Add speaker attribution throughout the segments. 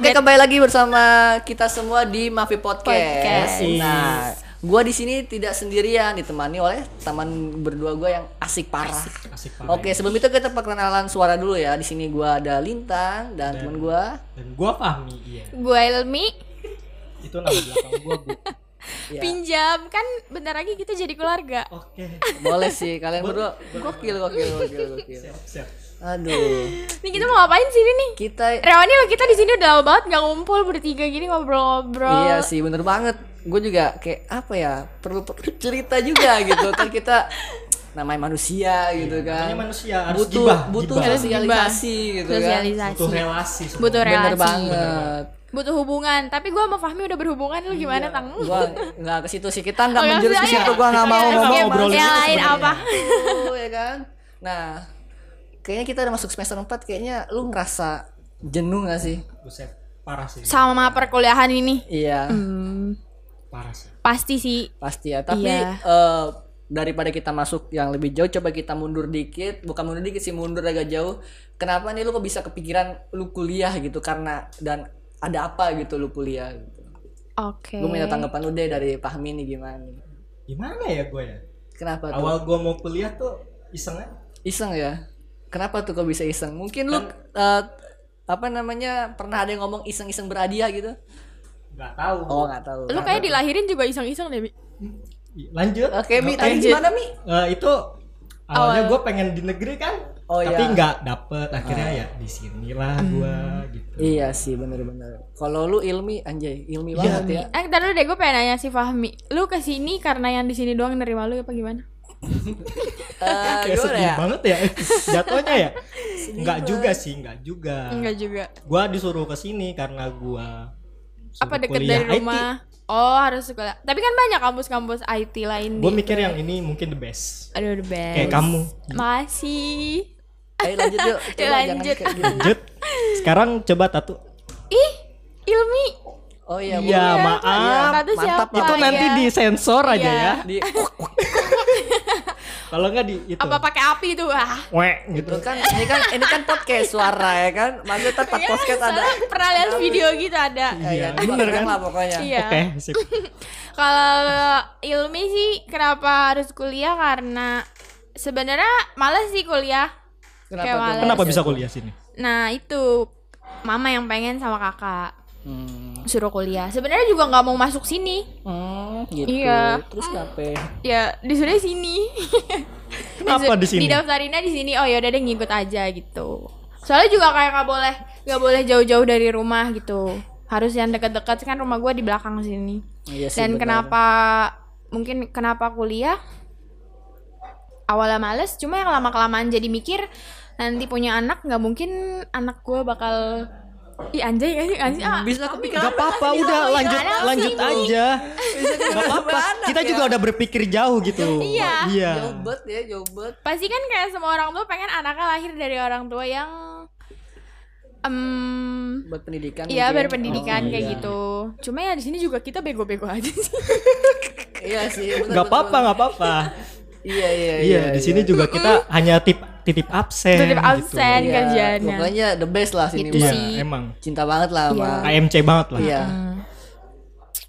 Speaker 1: Oke, kembali lagi bersama kita semua di Mafi Podcast.
Speaker 2: Podcast.
Speaker 1: Nah, gua di sini tidak sendirian, ditemani oleh teman berdua gua yang asik parah.
Speaker 3: Asik parah.
Speaker 1: Oke, sebelum itu kita perkenalan suara dulu ya. Di sini gua ada Lintang dan, teman gua.
Speaker 3: Dan gua Fahmi, iya.
Speaker 2: Gue Ilmi
Speaker 3: Itu nama belakang gua, Bu.
Speaker 1: Ya.
Speaker 2: pinjam kan bentar lagi kita jadi keluarga.
Speaker 3: Oke.
Speaker 1: Boleh sih kalian berdua gokil gokil gokil gokil.
Speaker 3: Siap, siap.
Speaker 1: Aduh,
Speaker 2: Nih kita mau ngapain sini nih?
Speaker 1: kita
Speaker 2: Reuni lo kita di sini udah lama banget nggak ngumpul bertiga gini ngobrol-ngobrol.
Speaker 1: Iya sih bener banget Gue juga kayak apa ya Perlu perlu cerita juga gitu Kan kita namanya manusia gitu kan
Speaker 3: Iya, namanya manusia, harus
Speaker 1: Butuh,
Speaker 3: gibah,
Speaker 1: butuh
Speaker 3: gibah.
Speaker 1: sosialisasi gitu kan
Speaker 2: Sosialisasi.
Speaker 3: Butuh relasi. semua.
Speaker 2: Butuh relasi.
Speaker 1: Bener banget
Speaker 2: Butuh hubungan. Tapi gue sama Fahmi udah berhubungan lu gimana tang?
Speaker 1: Gue Iya. nggak ke situ sih Kita nggak
Speaker 2: Oh, nggak
Speaker 1: menjurus ke
Speaker 2: usah,
Speaker 1: situ
Speaker 2: ya.
Speaker 1: Gue nggak mau
Speaker 2: Oke,
Speaker 1: ngomong
Speaker 2: oke, yang
Speaker 3: obrolan itu
Speaker 2: lain
Speaker 3: sebenarnya.
Speaker 2: apa?
Speaker 1: gitu, ya kan Nah Kayaknya kita udah masuk semester 4 Kayaknya lu ngerasa jenuh gak sih?
Speaker 3: Buset, parah sih.
Speaker 2: Sama perkuliahan ini.
Speaker 1: Iya
Speaker 2: Hmm,
Speaker 3: Parah sih.
Speaker 2: pasti sih.
Speaker 1: Pasti ya, tapi
Speaker 2: Iya.
Speaker 1: eh, daripada kita masuk yang lebih jauh, coba kita mundur dikit. Bukan mundur dikit sih, mundur agak jauh. Kenapa nih lu kok bisa kepikiran lu kuliah gitu? Karena dan ada apa gitu lu kuliah? Gitu.
Speaker 2: Oke.
Speaker 1: Gue minta tanggapan lu deh dari Fahmi nih gimana? nih?
Speaker 3: Gimana ya gua ya?
Speaker 1: Kenapa tuh?
Speaker 3: Awal gua mau kuliah tuh iseng aja.
Speaker 1: Iseng ya? Kenapa tuh kok bisa iseng? Mungkin lu eh, apa namanya pernah ada yang ngomong iseng-iseng berhadiah gitu?
Speaker 3: Gak tahu.
Speaker 1: Oh nggak tahu.
Speaker 2: Lu kayak dilahirin juga iseng-iseng deh. Bi.
Speaker 3: Lanjut.
Speaker 1: Oke mi,
Speaker 3: Oke.
Speaker 1: tadi gimana mi?
Speaker 3: Eh, itu awalnya gua pengen di negeri kan.
Speaker 1: Oh, iya.
Speaker 3: Tapi
Speaker 1: Ah. Hmm.
Speaker 3: nggak dapet akhirnya ya di sinilah gua gitu.
Speaker 1: Iya sih bener-bener. Kalau lu ilmi anjay, ilmi banget ya.
Speaker 2: Eh, ntar dulu deh gue pengen nanya si Fahmi. Lu kesini karena yang di sini doang nerima lu apa gimana?
Speaker 1: Eh,
Speaker 3: Kayak
Speaker 1: gimana
Speaker 3: sedih
Speaker 1: ya?
Speaker 3: banget ya jatuhnya ya. Enggak juga sih, enggak juga.
Speaker 1: Hmm.
Speaker 2: Enggak juga.
Speaker 3: Gua disuruh ke sini karena gua suruh
Speaker 2: apa deket
Speaker 3: kuliah
Speaker 2: dari
Speaker 3: IT.
Speaker 2: rumah oh harus sekolah tapi kan banyak kampus-kampus IT lain
Speaker 3: Gua
Speaker 2: di
Speaker 3: mikir yang ini mungkin the best.
Speaker 2: aduh the best
Speaker 3: Kayak kamu.
Speaker 2: masih
Speaker 1: Ayo lanjut yuk.
Speaker 2: Yuk,
Speaker 1: Coba jangan
Speaker 2: lanjut.
Speaker 1: kayak gitu.
Speaker 3: Lanjut. Sekarang coba tato.
Speaker 2: ih ilmi
Speaker 1: Oh iya, Bu.
Speaker 3: Iya, maaf.
Speaker 2: Tatu
Speaker 1: mantap
Speaker 2: siapa
Speaker 1: lah.
Speaker 3: Itu nanti
Speaker 2: ya?
Speaker 3: disensor aja
Speaker 2: Iya.
Speaker 3: ya.
Speaker 1: Di
Speaker 3: Kalau enggak di itu.
Speaker 2: apa pakai api tuh ah
Speaker 3: Wek gitu.
Speaker 1: itu kan ini kan ini kan podcast suara ya kan. Maksudnya tempat podcast ada.
Speaker 2: Soalnya Iya, pernah lihat video gitu ada
Speaker 1: Ya, ya,
Speaker 3: Iya,
Speaker 1: coba
Speaker 3: bener
Speaker 1: keren
Speaker 3: kan?
Speaker 1: lah pokoknya.
Speaker 2: iya
Speaker 3: Oke, sip.
Speaker 2: kalau ilmi sih kenapa harus kuliah karena sebenarnya males sih kuliah
Speaker 1: tuh?
Speaker 2: Kayak males.
Speaker 3: Kenapa bisa kuliah sini?
Speaker 2: nah itu mama yang pengen sama kakak
Speaker 1: Hmm,
Speaker 2: suruh kuliah sebenarnya juga nggak mau masuk sini
Speaker 1: hmm, gitu.
Speaker 2: Iya.
Speaker 1: Terus kenapa?
Speaker 2: ya disuruh sini
Speaker 3: Kenapa di sini?
Speaker 2: didaftarinnya di sini oh ya udah deh ngikut aja gitu soalnya juga kayak nggak boleh nggak boleh jauh-jauh dari rumah gitu harus yang deket-deket kan rumah gue di belakang sini
Speaker 1: Iya sih,
Speaker 2: dan
Speaker 1: benar.
Speaker 2: kenapa mungkin kenapa kuliah awalnya males cuma yang lama kelamaan jadi mikir nanti punya anak nggak mungkin anak gue bakal Ih anjay anjay anjay ah.
Speaker 1: Bisa
Speaker 3: Gak
Speaker 1: kepikiran
Speaker 3: apa-apa, udah lanjut
Speaker 2: Kenapa sih,
Speaker 3: lanjut
Speaker 2: Bu?
Speaker 3: aja. Gak apa-apa.
Speaker 1: anak
Speaker 3: Kita
Speaker 1: ya?
Speaker 3: juga udah berpikir jauh gitu.
Speaker 2: Iya.
Speaker 3: Iya.
Speaker 1: jobet ya, jobet.
Speaker 2: pasti kan kayak semua orang tua pengen anaknya lahir dari orang tua yang em
Speaker 1: Buat pendidikan.
Speaker 2: Iya
Speaker 1: mungkin.
Speaker 2: berpendidikan
Speaker 1: Oh,
Speaker 2: kayak
Speaker 1: iya.
Speaker 2: gitu. Cuma ya di sini juga kita bego-bego aja sih.
Speaker 1: Iya sih. benar,
Speaker 3: Gak
Speaker 1: betul.
Speaker 3: apa-apa, gak apa-apa.
Speaker 1: Iya, iya,
Speaker 3: Iya, di sini juga kita hanya tip titip absen.
Speaker 2: Tetap
Speaker 3: gitu.
Speaker 1: Eh,
Speaker 2: absen
Speaker 1: Iya,
Speaker 2: Kan kerjaannya.
Speaker 1: Pokoknya the best lah sini. Bang.
Speaker 2: Gitu
Speaker 3: Iya,
Speaker 2: sih. Iya.
Speaker 3: emang.
Speaker 1: Cinta banget lah sama.
Speaker 3: AMC banget lah.
Speaker 1: Iya.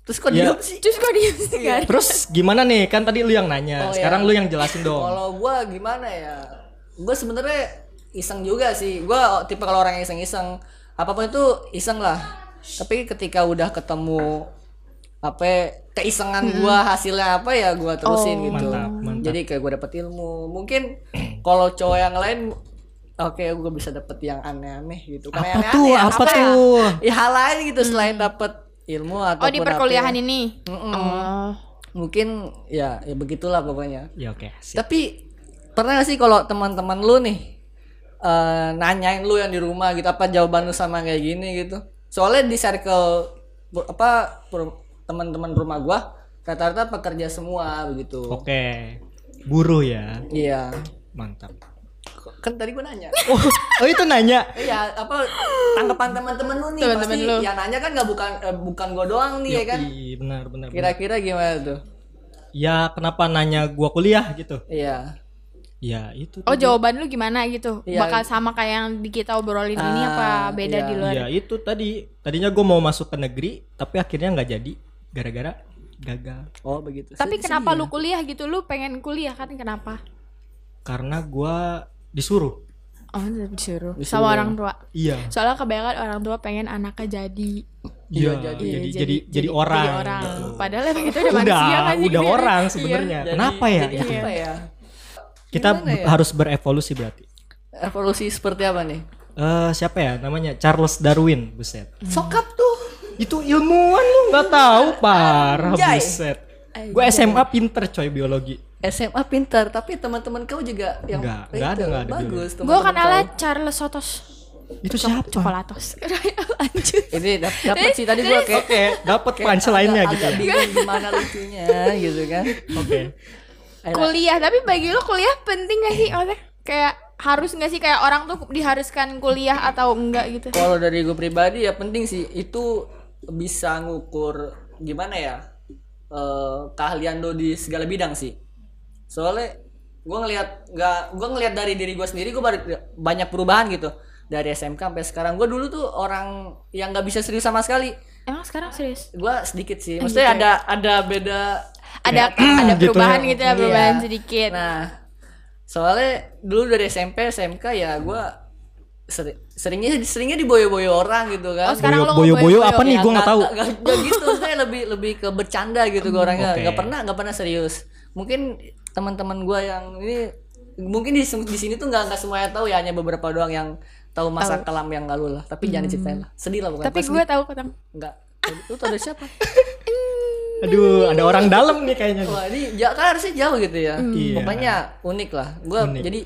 Speaker 1: Terus kok
Speaker 3: Iya.
Speaker 1: diam sih?
Speaker 2: Terus kok
Speaker 1: Iya.
Speaker 2: diem sih kan?
Speaker 3: Terus gimana nih? Kan tadi lu yang
Speaker 1: Oh,
Speaker 3: nanya. Sekarang
Speaker 1: iya.
Speaker 3: lu yang jelasin dong.
Speaker 1: Kalau gua gimana ya? Gua sebenarnya iseng juga sih. Gua tipe kalau orang yang iseng-iseng, apapun itu iseng lah. Tapi ketika udah ketemu apa ya, keisengan gua hasilnya apa ya gua terusin
Speaker 2: Oh.
Speaker 1: gitu.
Speaker 3: Mantap, mantap.
Speaker 1: Jadi kayak gua dapet ilmu. Mungkin kalau cowok yang lain Oke, gua bisa dapet yang aneh-aneh gitu. Karena
Speaker 3: Apa tuh?
Speaker 1: aneh-aneh,
Speaker 3: Apa
Speaker 1: ya?
Speaker 3: tuh?
Speaker 1: Ya hal lain gitu selain dapet ilmu atau
Speaker 2: Oh di perkuliahan ini. Oh.
Speaker 1: Mungkin ya ya begitulah pokoknya.
Speaker 3: Ya oke.
Speaker 1: Sip.
Speaker 3: sip.
Speaker 1: Tapi pernah gak sih kalau teman-teman lu nih eh, nanyain lu yang di rumah gitu apa jawaban lu sama kayak gini gitu? Soalnya di circle bu- apa per- teman-teman rumah gua rata-rata pekerja semua begitu.
Speaker 3: Oke. Buruh ya.
Speaker 1: Iya.
Speaker 3: Mantap.
Speaker 1: Kan tadi gua nanya.
Speaker 3: Oh, oh itu nanya.
Speaker 1: Iya, apa tanggapan teman-teman lu nih
Speaker 2: Teman-teman
Speaker 1: pasti
Speaker 2: lu.
Speaker 1: yang nanya kan nggak bukan eh, bukan gua doang nih ya kan.
Speaker 3: Iya, benar benar. benar.
Speaker 1: Kira-kira gimana tuh?
Speaker 3: Ya kenapa nanya gua kuliah gitu?
Speaker 1: Iya.
Speaker 3: ya itu
Speaker 2: Oh
Speaker 3: tadi.
Speaker 2: jawaban lu gimana gitu?
Speaker 1: Iya.
Speaker 2: Bakal sama kayak yang di kita obrolin ini
Speaker 1: Ah,
Speaker 2: apa beda
Speaker 1: iya.
Speaker 2: di luar?
Speaker 3: Iya itu tadi tadinya gue mau masuk ke negeri tapi akhirnya nggak jadi gara-gara gagal
Speaker 1: Oh begitu.
Speaker 2: Tapi
Speaker 1: Se-
Speaker 2: kenapa
Speaker 1: se-
Speaker 2: lu kuliah gitu? Lu pengen kuliah kan kenapa?
Speaker 3: karena gue disuruh
Speaker 2: Oh disuruh,
Speaker 1: Disuruh.
Speaker 2: sama orang tua.
Speaker 3: iya
Speaker 2: Soalnya kebanyakan orang tua pengen anaknya jadi
Speaker 1: Iya,
Speaker 3: iya
Speaker 1: jadi-
Speaker 3: jadi
Speaker 2: iya,
Speaker 3: jadi jadi, orang, gitu.
Speaker 2: Padahal emang itu udah,
Speaker 3: udah
Speaker 2: manusia kan jadi
Speaker 3: udah
Speaker 2: dia-
Speaker 3: orang
Speaker 2: iya.
Speaker 3: sebenarnya
Speaker 1: Jadi-
Speaker 3: kenapa ya
Speaker 1: jadi
Speaker 3: gitu.
Speaker 1: apa ya?
Speaker 3: kita
Speaker 1: Gimana ya?
Speaker 3: harus berevolusi berarti
Speaker 1: Evolusi seperti apa nih?
Speaker 3: Eh siapa ya namanya Charles Darwin buset
Speaker 1: Hmm. Sokap tuh.
Speaker 3: itu ilmuwan lu nggak tahu parah
Speaker 1: Anjay.
Speaker 3: buset gue SMA pinter coy biologi
Speaker 1: SMA pintar, tapi teman-teman kau juga yang
Speaker 3: Nggak, nggak ada,
Speaker 1: itu.
Speaker 3: nggak ada
Speaker 1: bagus.
Speaker 2: Gue
Speaker 1: teman-teman
Speaker 2: kan ala
Speaker 1: kau.
Speaker 2: Charles Sotos
Speaker 3: itu siapa
Speaker 2: Chocolatos. Lanjut.
Speaker 1: Ini dap- dapat sih tadi gua kayak
Speaker 3: oke dapat punchline-nya
Speaker 1: agak-
Speaker 3: gitu
Speaker 1: agak bingung gimana lucunya gitu kan.
Speaker 3: oke
Speaker 1: Ayo,
Speaker 2: kuliah tapi bagi lu kuliah penting gak sih maksudnya kayak harus gak sih kayak orang tuh diharuskan kuliah atau enggak gitu
Speaker 1: Kalau dari gue pribadi ya penting sih itu bisa ngukur gimana ya eh, keahlian lo di segala bidang sih. Soalnya gue ngelihat nggak gue ngelihat dari diri gue sendiri gue banyak perubahan gitu dari SMK sampai sekarang gue dulu tuh orang yang nggak bisa serius sama sekali
Speaker 2: emang sekarang serius
Speaker 1: gue sedikit sih maksudnya ada ada beda
Speaker 2: ada ada
Speaker 3: gitu
Speaker 2: perubahan
Speaker 3: ya.
Speaker 2: gitu ya perubahan
Speaker 1: Iya.
Speaker 2: sedikit
Speaker 1: Nah, soalnya dulu dari SMP SMK ya gua seri- seringnya seringnya diboyo-boyo orang gitu
Speaker 2: oh
Speaker 1: kan.
Speaker 2: sekarang
Speaker 3: Boyo-
Speaker 2: lo
Speaker 3: boyo-boyo apa nih?
Speaker 1: Ya,
Speaker 3: gua nggak tahu.
Speaker 1: nggak- nggak gitu, saya lebih lebih ke bercanda gitu gua orangnya.
Speaker 3: Oke.
Speaker 1: Nggak pernah nggak pernah serius. Mungkin teman-teman gua yang ini mungkin di, di sini tuh nggak nggak semuanya tahu ya hanya beberapa doang yang tahu masa kelam yang lalu lah. Tapi jangan diceritain lah. Sedih lah bukan.
Speaker 2: tapi gue tahu ketang
Speaker 1: enggak. Lu tau dari siapa?
Speaker 3: aduh ada orang dalam nih kayaknya nih. Ya,
Speaker 1: Wah ini ja- kan harusnya jauh gitu ya.
Speaker 3: Iya.
Speaker 1: Pokoknya unik lah. Gue
Speaker 3: Unik.
Speaker 1: jadi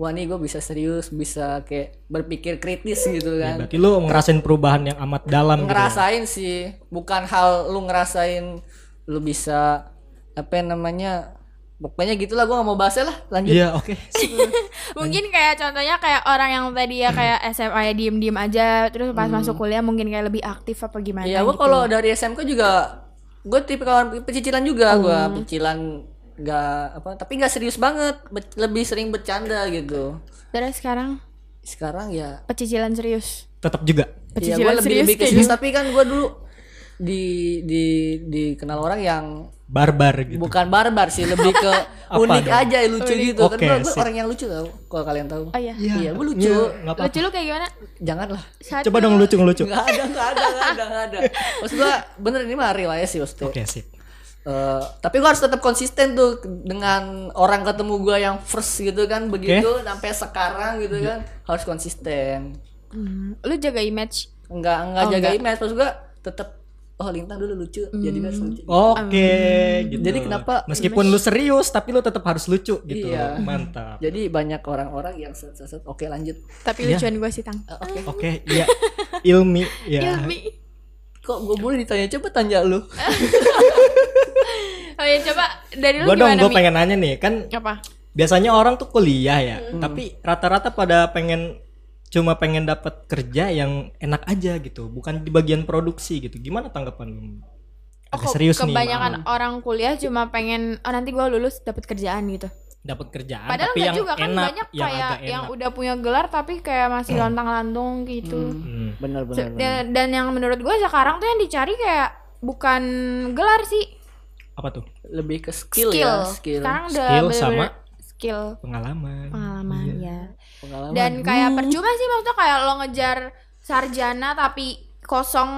Speaker 1: wah ini gue bisa serius, bisa kayak berpikir kritis gitu
Speaker 3: Ya,
Speaker 1: kan.
Speaker 3: berarti lu ngerasain perubahan yang amat dalam gitu ya?
Speaker 1: ngerasain sih, bukan hal lu ngerasain lu bisa apa yang namanya pokoknya gitulah gue nggak mau bahasnya lah lanjut
Speaker 3: Iya, oke.
Speaker 2: mungkin kayak contohnya kayak orang yang tadi ya kayak SMA ya diem diem aja terus pas
Speaker 3: Hmm.
Speaker 2: masuk kuliah mungkin kayak lebih aktif apa gimana
Speaker 1: Iya, gue
Speaker 2: gitu.
Speaker 1: kalau dari SMK juga gue tipikal pecicilan juga gua gue pecicilan nggak apa tapi nggak serius banget be- lebih sering bercanda gitu
Speaker 2: terus sekarang
Speaker 1: sekarang ya
Speaker 2: pecicilan serius
Speaker 3: Tetap juga.
Speaker 1: Iya,
Speaker 2: pecicilan
Speaker 1: gue lebih
Speaker 2: serius
Speaker 1: lebih ke
Speaker 2: kayak gitu.
Speaker 1: serius, tapi kan gue dulu di di dikenal orang yang
Speaker 3: Barbar gitu.
Speaker 1: bukan barbar sih, lebih ke
Speaker 3: Apa
Speaker 1: unik
Speaker 3: dong?
Speaker 1: aja, lucu gitu.
Speaker 3: Oke,
Speaker 1: kan gue
Speaker 3: sip.
Speaker 1: orang yang lucu tau, kalau kalian tahu.
Speaker 2: oh iya
Speaker 1: Iya, gue lucu.
Speaker 3: nggak apa-apa.
Speaker 2: lucu lu kayak gimana
Speaker 1: Janganlah.
Speaker 2: Satu-
Speaker 3: Coba dong lucu lucu.
Speaker 1: Enggak ada, enggak ada, enggak ada, enggak ada. Maksud gue bener ini mah real aja sih, Ustaz.
Speaker 3: Oke, sip.
Speaker 1: Eh, tapi gue harus tetap konsisten tuh dengan orang ketemu gue yang first gitu kan begitu sampai sekarang gitu
Speaker 3: Iya.
Speaker 1: kan harus konsisten
Speaker 2: Hmm, lu jaga image
Speaker 1: enggak enggak jaga image maksud gue tetap oh lintang dulu lucu jadi gue harus lucu
Speaker 3: Oke, gitu.
Speaker 1: Jadi kenapa-
Speaker 3: meskipun lu serius tapi lu tetap harus lucu gitu.
Speaker 1: Iya.
Speaker 3: Mantap.
Speaker 1: Jadi banyak orang-orang yang set, set, set. Oke lanjut.
Speaker 2: tapi
Speaker 3: Iya.
Speaker 2: lucuan gue sih tang Iya,
Speaker 1: Eh, Oke.
Speaker 3: Oke, iya. Ilmi, ya.
Speaker 2: Ilmi.
Speaker 1: Kok gue boleh ditanya coba tanya lu.
Speaker 2: Oh ya coba dari lu
Speaker 3: Gua dong
Speaker 2: gimana
Speaker 3: gua
Speaker 2: Mi?
Speaker 3: pengen nanya nih, kan
Speaker 2: Apa?
Speaker 3: biasanya orang tuh kuliah ya,
Speaker 2: Hmm.
Speaker 3: tapi rata-rata pada pengen cuma pengen dapat kerja yang enak aja gitu, bukan di bagian produksi gitu. Gimana tanggapan lu?
Speaker 2: Oh,
Speaker 3: Agak
Speaker 2: kok
Speaker 3: serius nih.
Speaker 2: kebanyakan orang kuliah cuma pengen oh nanti gua lulus dapat kerjaan gitu.
Speaker 3: dapat kerjaan
Speaker 2: Padahal
Speaker 3: tapi
Speaker 2: nggak
Speaker 3: yang
Speaker 2: juga kan
Speaker 3: enak,
Speaker 2: banyak
Speaker 3: yang
Speaker 2: kayak
Speaker 3: agak enak.
Speaker 2: yang udah punya gelar tapi kayak masih lontang-lantung gitu.
Speaker 3: Hmm.
Speaker 1: Bener bener. bener.
Speaker 2: Dan, dan yang menurut gua sekarang tuh yang dicari kayak bukan gelar sih,
Speaker 3: Apa tuh?
Speaker 1: Lebih ke skill,
Speaker 2: skill.
Speaker 1: ya, skill
Speaker 2: Sekarang udah
Speaker 3: Skill
Speaker 2: bener-bener
Speaker 3: sama Iya.
Speaker 2: skill
Speaker 3: Pengalaman.
Speaker 2: pengalaman ya.
Speaker 1: pengalaman.
Speaker 2: Dan kayak percuma sih maksudnya kayak lo ngejar sarjana tapi kosong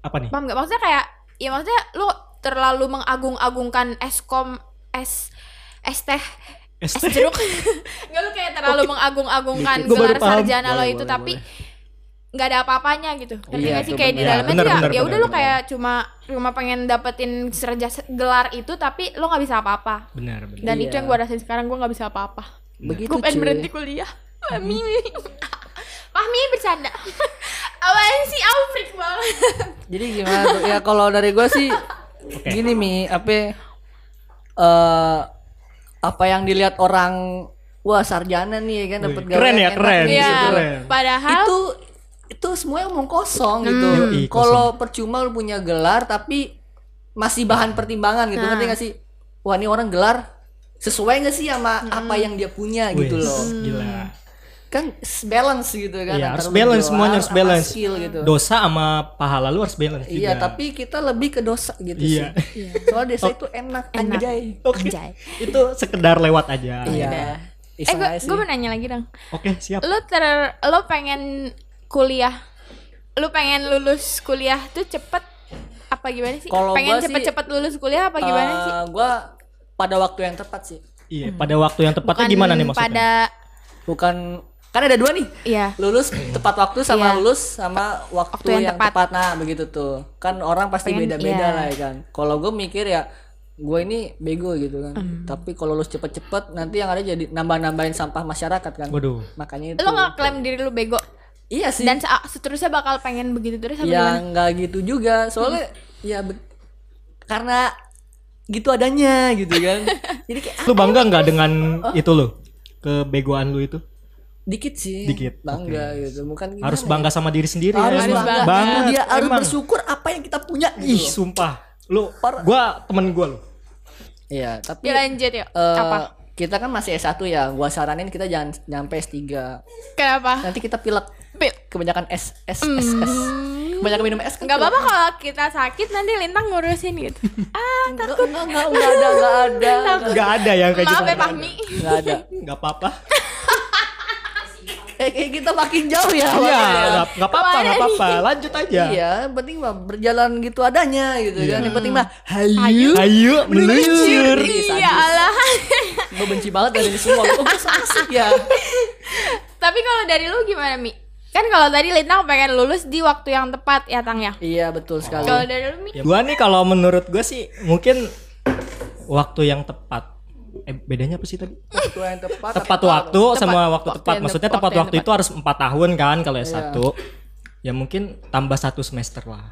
Speaker 3: Apa nih?
Speaker 2: paham nggak maksudnya kayak ya maksudnya lu terlalu mengagung-agungkan eskom es es teh
Speaker 3: Es
Speaker 2: es
Speaker 3: teh.
Speaker 2: jeruk nggak lu kayak terlalu mengagung-agungkan
Speaker 3: Gua baru
Speaker 2: gelar
Speaker 3: paham.
Speaker 2: sarjana lo
Speaker 1: Boleh,
Speaker 2: itu
Speaker 1: boleh,
Speaker 2: tapi nggak ada apa-apanya gitu ngerti
Speaker 1: Iya,
Speaker 2: nggak sih
Speaker 1: itu
Speaker 2: kayak di
Speaker 1: bener.
Speaker 2: dalamnya
Speaker 3: Bener,
Speaker 2: tuh ya
Speaker 3: bener,
Speaker 2: ya udah
Speaker 3: bener,
Speaker 2: lu kayak cuma cuma pengen dapetin serja gelar itu tapi lo nggak bisa apa-apa
Speaker 3: Benar, benar.
Speaker 2: dan
Speaker 1: Iya.
Speaker 2: itu yang gue rasain sekarang gue nggak bisa apa-apa
Speaker 1: Begitu
Speaker 2: gue pengen
Speaker 1: cuy.
Speaker 2: berhenti kuliah Fahmi Fahmi bercanda Apaan sih Alfred banget
Speaker 1: Jadi gimana tuh? Ya kalau dari gue sih gini Mi, apa eh, apa yang dilihat orang wah sarjana nih ya kan dapat
Speaker 3: Wih, keren ya, keren.
Speaker 1: Iya.
Speaker 2: Iya,
Speaker 3: keren.
Speaker 2: padahal
Speaker 1: itu itu semuanya omong
Speaker 2: Hmm.
Speaker 1: kosong gitu.
Speaker 3: Yoi, kosong.
Speaker 1: Kalau percuma lu punya
Speaker 2: Hmm. Nah.
Speaker 1: gelar tapi masih bahan pertimbangan gitu. Ngerti gak sih? Wah, ini orang gelar sesuai nggak sih sama
Speaker 2: Hmm.
Speaker 1: apa yang dia punya gitu
Speaker 3: Wes,
Speaker 1: loh
Speaker 3: Gila.
Speaker 1: kan s- balance gitu kan
Speaker 3: Iya,
Speaker 1: antara
Speaker 3: harus
Speaker 1: lu
Speaker 3: balance,
Speaker 1: berdoa
Speaker 3: semuanya harus
Speaker 1: sama
Speaker 3: balance.
Speaker 1: skill gitu
Speaker 3: Dosa sama pahala lu harus balance juga.
Speaker 1: iya tapi kita lebih ke dosa gitu
Speaker 3: Iya.
Speaker 1: sih soalnya dosa itu enak
Speaker 2: Enak.
Speaker 1: anjay
Speaker 3: Oke.
Speaker 2: Anjay.
Speaker 3: Itu sekedar lewat aja.
Speaker 1: iya
Speaker 2: Eh,
Speaker 1: Iseng
Speaker 2: gue
Speaker 1: aja sih.
Speaker 2: gue mau nanya lagi dong.
Speaker 3: Oke, siap.
Speaker 2: Lu ter, lu pengen kuliah, lu pengen lulus kuliah tuh cepet apa gimana sih?
Speaker 1: Kalau gua
Speaker 2: pengen
Speaker 1: sih, eh,
Speaker 2: cepet-cepet lulus kuliah apa gimana sih?
Speaker 1: gue pada waktu yang tepat sih
Speaker 3: Iya, pada waktu yang
Speaker 2: Hmm.
Speaker 3: tepatnya
Speaker 2: Bukan
Speaker 3: gimana nih maksudnya?
Speaker 2: Pada,
Speaker 1: bukan kan ada dua nih
Speaker 2: iya.
Speaker 1: lulus tepat waktu sama
Speaker 2: Iya.
Speaker 1: lulus sama waktu,
Speaker 2: Waktu yang
Speaker 1: yang,
Speaker 2: tepat.
Speaker 1: tepat. nah begitu tuh kan orang pasti
Speaker 2: Pengen-
Speaker 1: beda-beda
Speaker 2: iya.
Speaker 1: lah ya kan kalau gue mikir ya gue ini bego gitu kan
Speaker 2: Hmm.
Speaker 1: tapi kalau lulus cepet-cepet nanti yang ada jadi nambah-nambahin sampah masyarakat kan
Speaker 3: Waduh.
Speaker 1: makanya itu
Speaker 2: Lu nggak klaim diri lu bego
Speaker 1: iya sih
Speaker 2: dan se- seterusnya bakal pengen begitu terus apa
Speaker 1: ya
Speaker 2: gimana?
Speaker 1: nggak gitu juga soalnya
Speaker 2: Hmm.
Speaker 1: ya be- karena gitu adanya gitu kan jadi kayak
Speaker 3: Lu bangga nggak dengan
Speaker 2: Oh.
Speaker 3: itu lu? Kebegoan lu itu?
Speaker 1: dikit sih
Speaker 3: Dikit,
Speaker 1: bangga gitu bukan gimana
Speaker 3: Harus
Speaker 1: ya?
Speaker 3: bangga sama diri sendiri
Speaker 1: harus
Speaker 3: ya.
Speaker 1: bangga,
Speaker 3: Banget,
Speaker 1: dia harus
Speaker 3: emang.
Speaker 1: bersyukur apa yang kita punya gitu
Speaker 2: Iya.
Speaker 3: Ih,
Speaker 1: loh.
Speaker 3: sumpah. Lu
Speaker 1: Parah.
Speaker 3: gua temen gua lu.
Speaker 1: Iya, tapi
Speaker 2: Ya lanjut yuk.
Speaker 1: eh,
Speaker 2: apa?
Speaker 1: kita kan masih S1 ya. Gua saranin kita jangan nyampe S3.
Speaker 2: Kenapa?
Speaker 1: Nanti kita pilek
Speaker 2: Pil.
Speaker 1: kebanyakan S S S S. Kebanyakan minum S kan. pilek.
Speaker 2: Gak Gitu. apa-apa kalau kita sakit nanti Lintang ngurusin gitu. Ah,
Speaker 1: Enggak, enggak, enggak, enggak ada, enggak ada.
Speaker 3: Nggak ada yang kayak gitu.
Speaker 2: maaf ya Fahmi.
Speaker 1: Enggak ada.
Speaker 3: Enggak apa-apa.
Speaker 1: Eh, eh, kita makin jauh ya.
Speaker 3: Iya,
Speaker 1: makanya.
Speaker 3: nggak- nggak apa-apa, nggak apa-apa. Lanjut aja.
Speaker 1: Iya, yang penting mah berjalan gitu adanya gitu kan.
Speaker 3: Iya.
Speaker 1: Yang penting mah
Speaker 3: Hayu, hayu meluyur.
Speaker 1: sadis.
Speaker 2: Iya Allah.
Speaker 1: gue benci banget dari ini semua. Oh, gue asik ya.
Speaker 2: Tapi kalau dari lu gimana Mi? Kan kalau tadi Lintang pengen lulus di waktu yang tepat ya Tang ya.
Speaker 1: Iya, betul sekali.
Speaker 2: Kalau dari lu Mi?
Speaker 3: Gua nih kalau menurut gua sih mungkin waktu yang tepat. Eh, bedanya apa sih tadi?
Speaker 1: Waktu yang tepat.
Speaker 3: tepat waktu sama waktu
Speaker 2: Waktu
Speaker 3: tepat.
Speaker 2: yang
Speaker 3: Maksudnya
Speaker 2: tepat,
Speaker 3: tepat
Speaker 2: waktu yang
Speaker 3: waktu itu harus empat tahun kan kalau S1. Ya mungkin tambah satu semester lah.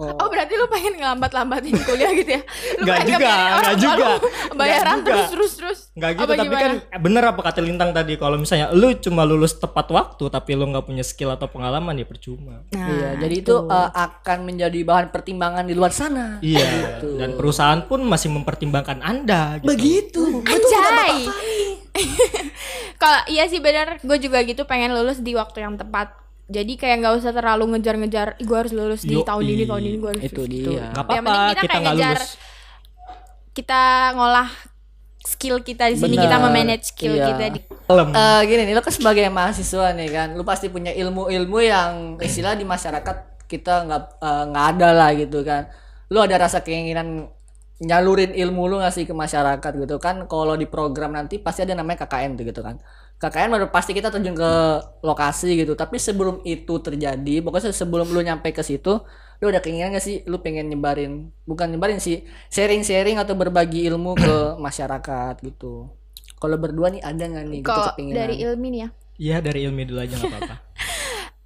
Speaker 2: Oh berarti lu pengen ngelambat-lambatin kuliah gitu ya? Lu
Speaker 3: Nggak
Speaker 2: pengen
Speaker 3: juga,
Speaker 2: ngebiarin orang
Speaker 3: nggak
Speaker 2: tua lu
Speaker 3: juga.
Speaker 2: Bayaran
Speaker 3: Nggak juga.
Speaker 2: terus-terus-terus
Speaker 3: Nggak gitu tapi kan eh, bener apa kata Lintang tadi kalau misalnya lu cuma lulus tepat waktu tapi lu nggak punya skill atau pengalaman ya percuma.
Speaker 1: Iya, jadi itu eh, akan menjadi bahan pertimbangan di luar sana.
Speaker 3: Iya. Dan perusahaan pun masih mempertimbangkan Anda gitu.
Speaker 1: Begitu. Gua tuh udah
Speaker 2: Anjay Kalau iya sih benar, gue juga gitu pengen lulus di waktu yang tepat Jadi kayak nggak usah terlalu ngejar-ngejar Gue harus lulus di
Speaker 3: Yoi.
Speaker 2: tahun ini, tahun ini gue harus
Speaker 1: Itu
Speaker 2: lulus."
Speaker 1: dia.
Speaker 2: Gitu.
Speaker 3: Nggak
Speaker 2: Yang penting
Speaker 3: apa-apa
Speaker 2: kita
Speaker 3: kita
Speaker 2: kayak
Speaker 3: nggak
Speaker 2: ngejar-
Speaker 3: lulus.
Speaker 2: Kita ngolah skill kita di sini
Speaker 1: Benar.
Speaker 2: Kita memanage skill
Speaker 1: Iya.
Speaker 2: kita di
Speaker 3: Kalem.
Speaker 1: Eh, gini nih, lo kan sebagai mahasiswa nih kan, lo pasti punya ilmu-ilmu yang istilah di masyarakat kita nggak eh, nggak ada lah gitu kan. Lo ada rasa keinginan nyalurin ilmu lo ngasih ke masyarakat gitu kan. Kalau di program nanti pasti ada namanya KKN tuh gitu kan. KKN baru pasti kita terjun ke lokasi gitu. Tapi sebelum itu terjadi, pokoknya sebelum lo nyampe ke situ, lo ada keinginan gak sih lo pengen nyebarin, bukan nyebarin sih, sharing-sharing atau berbagi ilmu ke masyarakat gitu. Kalau berdua nih ada nggak nih gitu
Speaker 2: Kalau
Speaker 1: kepinginan?
Speaker 2: dari ilmi nih ya
Speaker 3: Iya dari ilmi dulu aja nggak apa-apa.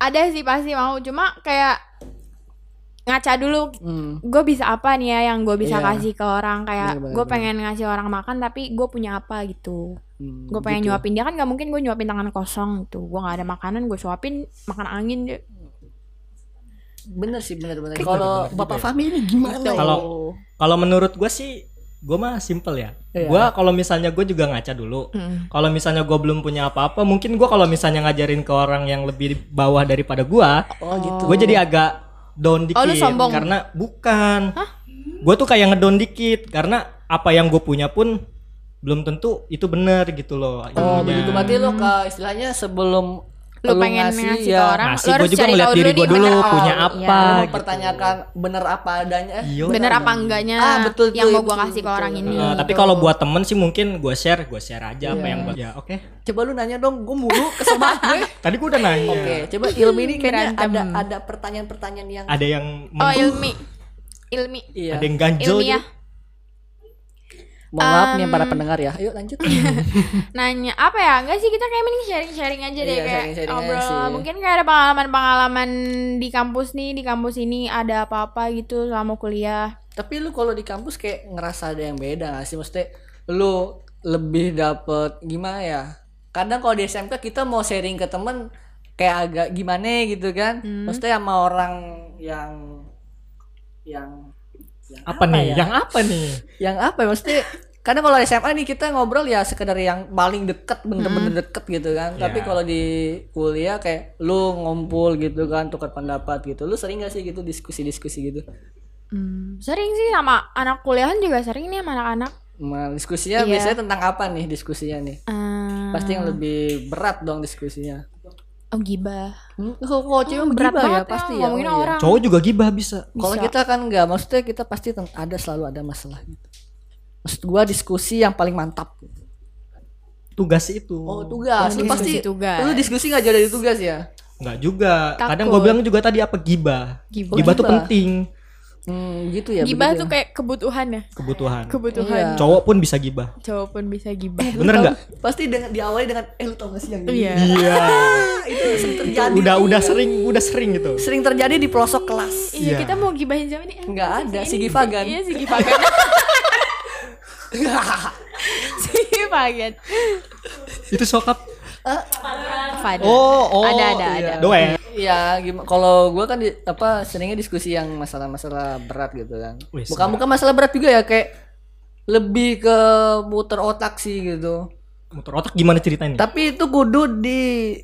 Speaker 2: Ada sih pasti mau, cuma kayak Ngaca dulu
Speaker 1: Hmm.
Speaker 2: gue bisa apa nih ya yang gue bisa
Speaker 1: Iya.
Speaker 2: kasih ke orang kayak
Speaker 1: Bener, bener,
Speaker 2: gue
Speaker 1: bener.
Speaker 2: pengen ngasih orang makan tapi gue punya apa gitu
Speaker 1: Hmm,
Speaker 2: gue pengen
Speaker 1: gitu.
Speaker 2: nyuapin dia kan gak mungkin gue nyuapin tangan kosong tuh gue nggak ada makanan gue suapin makan angin deh
Speaker 1: Bener sih bener bener. Kalau
Speaker 3: bener
Speaker 1: bapak
Speaker 3: juga ya.
Speaker 1: Fahmi ini gimana?
Speaker 2: Gitu.
Speaker 1: ya?
Speaker 3: Kalau- Kalau menurut gue sih, gue mah simple ya.
Speaker 1: Iya.
Speaker 3: Gue kalau misalnya gue juga ngaca dulu.
Speaker 2: Mm.
Speaker 3: Kalau misalnya gue belum punya apa-apa, mungkin gue kalau misalnya ngajarin ke orang yang lebih di bawah daripada gue,
Speaker 1: oh gitu.
Speaker 3: gue jadi agak down dikit.
Speaker 2: Oh, lu sombong?
Speaker 3: Karena bukan. Gue tuh kayak ngedown dikit karena apa yang gue punya pun belum tentu itu benar gitu loh.
Speaker 1: Oh
Speaker 3: ilmunya.
Speaker 1: begitu berarti lo ke istilahnya sebelum ya,
Speaker 2: Lu pengen ngasih ke
Speaker 1: iya.
Speaker 2: orang, lu
Speaker 3: Ngasih
Speaker 2: harus
Speaker 3: gue juga
Speaker 2: cari
Speaker 3: ngeliat
Speaker 2: tahu
Speaker 3: diri
Speaker 2: dulu
Speaker 3: gue
Speaker 2: nih
Speaker 3: dulu
Speaker 2: bener.
Speaker 3: punya
Speaker 2: Oh,
Speaker 3: apa.
Speaker 2: iya.
Speaker 3: gitu.
Speaker 1: mempertanyakan bener apa adanya. Eh,
Speaker 3: Iya.
Speaker 2: bener apa enggaknya
Speaker 1: Ah, betul
Speaker 2: yang
Speaker 1: tuh,
Speaker 2: mau gue
Speaker 1: itu,
Speaker 2: kasih ke
Speaker 1: betul.
Speaker 2: orang ini
Speaker 3: Nah, tapi kalau buat temen sih mungkin gue share, gue share aja apa
Speaker 1: Iya.
Speaker 3: yang gua- ya oke.
Speaker 1: Coba lu nanya dong, gue mulu kesel banget gue.
Speaker 3: Tadi gue udah nanya.
Speaker 1: Oke, coba ilmu ini kayaknya
Speaker 2: Berantem.
Speaker 1: ada ada pertanyaan-pertanyaan yang
Speaker 3: Ada yang
Speaker 2: oh
Speaker 3: men-
Speaker 2: ilmi ilmi
Speaker 1: iya.
Speaker 3: ada yang ganjel
Speaker 2: ilmiah
Speaker 3: gitu.
Speaker 1: Mohon maaf nih para pendengar ya. Ayo lanjut.
Speaker 2: nanya apa ya enggak sih kita kayak mending sharing sharing aja deh
Speaker 1: Iya,
Speaker 2: kayak
Speaker 1: sharing-sharing aja
Speaker 2: ngobrol
Speaker 1: sih.
Speaker 2: mungkin kayak ada pengalaman pengalaman di kampus nih di kampus ini ada apa apa gitu selama kuliah
Speaker 1: Tapi lu kalau di kampus kayak ngerasa ada yang beda gak sih? Maksudnya lu lebih dapet gimana ya? Kadang kalau di SMK kita mau sharing ke temen kayak agak gimana gitu kan?
Speaker 3: Hmm.
Speaker 1: Maksudnya sama orang yang yang yang
Speaker 3: Apa, nih?
Speaker 1: ya?
Speaker 3: Yang apa nih?
Speaker 1: yang apa ya? Maksudnya karena kalau SMA nih kita ngobrol ya sekedar yang paling deket bener-bener
Speaker 3: Hmm.
Speaker 1: deket gitu kan tapi
Speaker 3: Ya.
Speaker 1: kalau di kuliah kayak lu ngumpul gitu kan tukar pendapat gitu lu sering gak sih gitu diskusi-diskusi gitu
Speaker 2: Hmm, sering sih sama anak kuliahan juga sering nih sama anak-anak.
Speaker 1: Nah, diskusinya
Speaker 2: Iya.
Speaker 1: biasanya tentang apa nih diskusinya nih
Speaker 2: Eh,
Speaker 1: pasti yang lebih berat dong diskusinya
Speaker 2: oh gibah.
Speaker 1: hmm, kok kok cewek
Speaker 2: Oh,
Speaker 1: bergibah
Speaker 2: berat banget
Speaker 1: ya pasti ya
Speaker 2: ngomongin
Speaker 1: oh iya.
Speaker 2: orang.
Speaker 3: Cowok juga gibah bisa.
Speaker 1: Kalau
Speaker 2: Bisa.
Speaker 1: kita kan nggak, maksudnya kita pasti teng- ada selalu ada masalah gitu. Maksud gua diskusi yang paling mantap.
Speaker 3: Tugas itu.
Speaker 1: Oh tugas, lu
Speaker 2: Diskusi
Speaker 1: pasti
Speaker 2: tugas.
Speaker 1: lu diskusi nggak jauh dari tugas ya?
Speaker 3: Enggak juga. Kadang
Speaker 2: Takut.
Speaker 3: gua bilang juga tadi apa gibah.
Speaker 2: Gibah.
Speaker 3: Gibah tuh
Speaker 1: Gibah.
Speaker 3: penting
Speaker 1: Hmm, gitu ya.
Speaker 2: gibah
Speaker 1: begitu
Speaker 2: tuh
Speaker 1: ya.
Speaker 2: kayak kebutuhan ya.
Speaker 3: kebutuhan.
Speaker 2: Kebutuhan.
Speaker 1: Iya.
Speaker 3: Cowok pun bisa gibah.
Speaker 2: Cowok pun bisa gibah.
Speaker 1: Lu
Speaker 3: Bener
Speaker 1: tahu-
Speaker 3: nggak?
Speaker 1: Pasti dengan diawali dengan eh lu tau gak sih yang ini?
Speaker 2: Iya.
Speaker 3: Iya.
Speaker 1: Ah, itu sering terjadi.
Speaker 3: udah udah sering, udah sering gitu.
Speaker 1: Sering terjadi di pelosok kelas.
Speaker 2: Iya,
Speaker 3: Iya.
Speaker 2: kita mau gibahin siapa nih? Ah,
Speaker 1: Nggak
Speaker 2: siapa
Speaker 1: ada,
Speaker 2: sih
Speaker 1: si
Speaker 2: ini?
Speaker 1: Givagan.
Speaker 2: Iya, si Givagan. si Givagan.
Speaker 3: Itu sokap.
Speaker 2: Fadil.
Speaker 3: Oh, oh.
Speaker 2: Ada, ada, ada.
Speaker 3: Doe.
Speaker 1: Iya, gimana? Kalau gua kan di- apa seringnya diskusi yang masalah-masalah berat gitu kan.
Speaker 3: Wih,
Speaker 1: bukan bukan masalah berat juga ya kayak lebih ke muter otak sih gitu.
Speaker 3: Motor otak gimana ceritanya?
Speaker 1: Tapi itu kudu di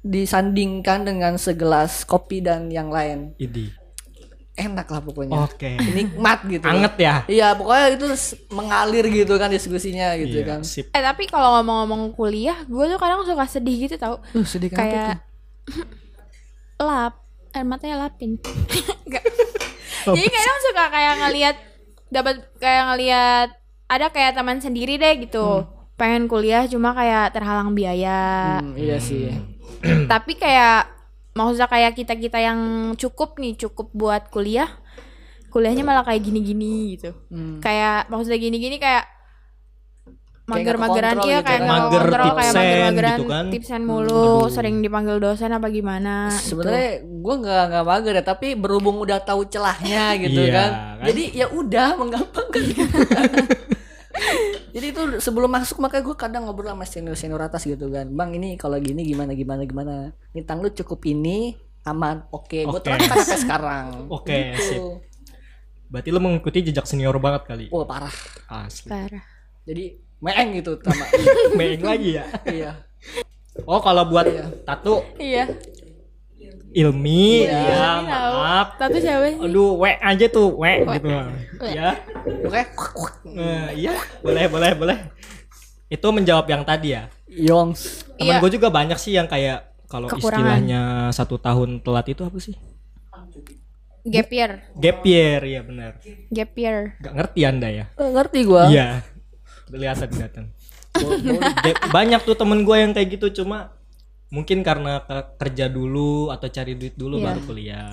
Speaker 1: disandingkan dengan segelas kopi dan yang lain.
Speaker 3: Idi.
Speaker 1: Enak lah pokoknya.
Speaker 3: Oke.
Speaker 1: Nikmat gitu.
Speaker 3: Oh. Anget ya.
Speaker 1: Iya, pokoknya itu s- mengalir gitu kan diskusinya gitu
Speaker 3: Iya,
Speaker 1: kan.
Speaker 3: Sip.
Speaker 2: Eh, tapi kalau ngomong-ngomong kuliah, gue tuh kadang suka sedih gitu tau.
Speaker 1: Uh, sedih kenapa
Speaker 2: Kayak
Speaker 1: itu?
Speaker 2: lap air matanya lapin Nggak.
Speaker 3: Oh.
Speaker 2: jadi kadang suka kayak ngelihat dapat kayak ngelihat ada kayak teman sendiri deh
Speaker 3: Hmm.
Speaker 2: gitu pengen kuliah cuma kayak terhalang biaya
Speaker 1: Hmm, iya sih.
Speaker 3: Hmm.
Speaker 2: tapi kayak maksudnya kayak kita kita yang cukup nih cukup buat kuliah kuliahnya malah kayak gini-gini gitu
Speaker 1: Hmm.
Speaker 2: kayak maksudnya gini-gini kayak
Speaker 1: nggak
Speaker 2: mager-mageran
Speaker 1: kekontrol
Speaker 2: iya
Speaker 1: gitu
Speaker 2: kayak
Speaker 1: kan.
Speaker 2: nggak
Speaker 3: Mager,
Speaker 2: kekontrol kayak
Speaker 3: tipsen
Speaker 2: mager-mageran
Speaker 3: gitu kan.
Speaker 2: tipsen mulu
Speaker 3: aduh.
Speaker 2: sering dipanggil dosen apa gimana gitu.
Speaker 1: Sebenarnya gua nggak nggak mager ya, tapi berhubung udah tahu celahnya gitu
Speaker 3: Iya,
Speaker 1: kan.
Speaker 3: kan?
Speaker 1: Jadi ya udah menggampangkan. Jadi itu sebelum masuk makanya gue kadang ngobrol sama senior senior atas gitu kan, bang ini kalau gini gimana gimana gimana, Nitang lu cukup ini aman, oke, gue
Speaker 3: Oke.
Speaker 1: terapkan sampai sekarang.
Speaker 3: Oke, sip.
Speaker 1: Gitu.
Speaker 3: Berarti lo mengikuti jejak senior banget kali.
Speaker 1: Wah parah.
Speaker 3: Asli.
Speaker 2: parah
Speaker 1: Jadi meeng gitu sama.
Speaker 3: Meng lagi ya.
Speaker 1: iya.
Speaker 3: Oh, kalau buat tato
Speaker 2: iya
Speaker 1: Iya,
Speaker 3: ilmi ya,
Speaker 2: Tapi tahu.
Speaker 3: maaf.
Speaker 2: Tato siapa sih?
Speaker 3: Aduh, we aja tuh, we, gitu. Ya.
Speaker 1: Oke.
Speaker 3: Eh, iya, boleh, boleh, boleh. Itu menjawab yang tadi ya.
Speaker 1: Yongs.
Speaker 2: Iya.
Speaker 3: Teman gue juga banyak sih yang kayak kalau
Speaker 2: Kekurangan.
Speaker 3: istilahnya satu tahun telat itu apa sih?
Speaker 2: Gap year.
Speaker 3: Gap year, ya benar.
Speaker 2: Gap year.
Speaker 3: Gak ngerti anda ya?
Speaker 1: Eh, ngerti gua.
Speaker 3: Iya. Kelihatan kelihatan. Gap- Banyak tuh temen gue yang kayak gitu cuma mungkin karena ke- kerja dulu atau cari duit dulu
Speaker 2: Iya.
Speaker 3: baru kuliah.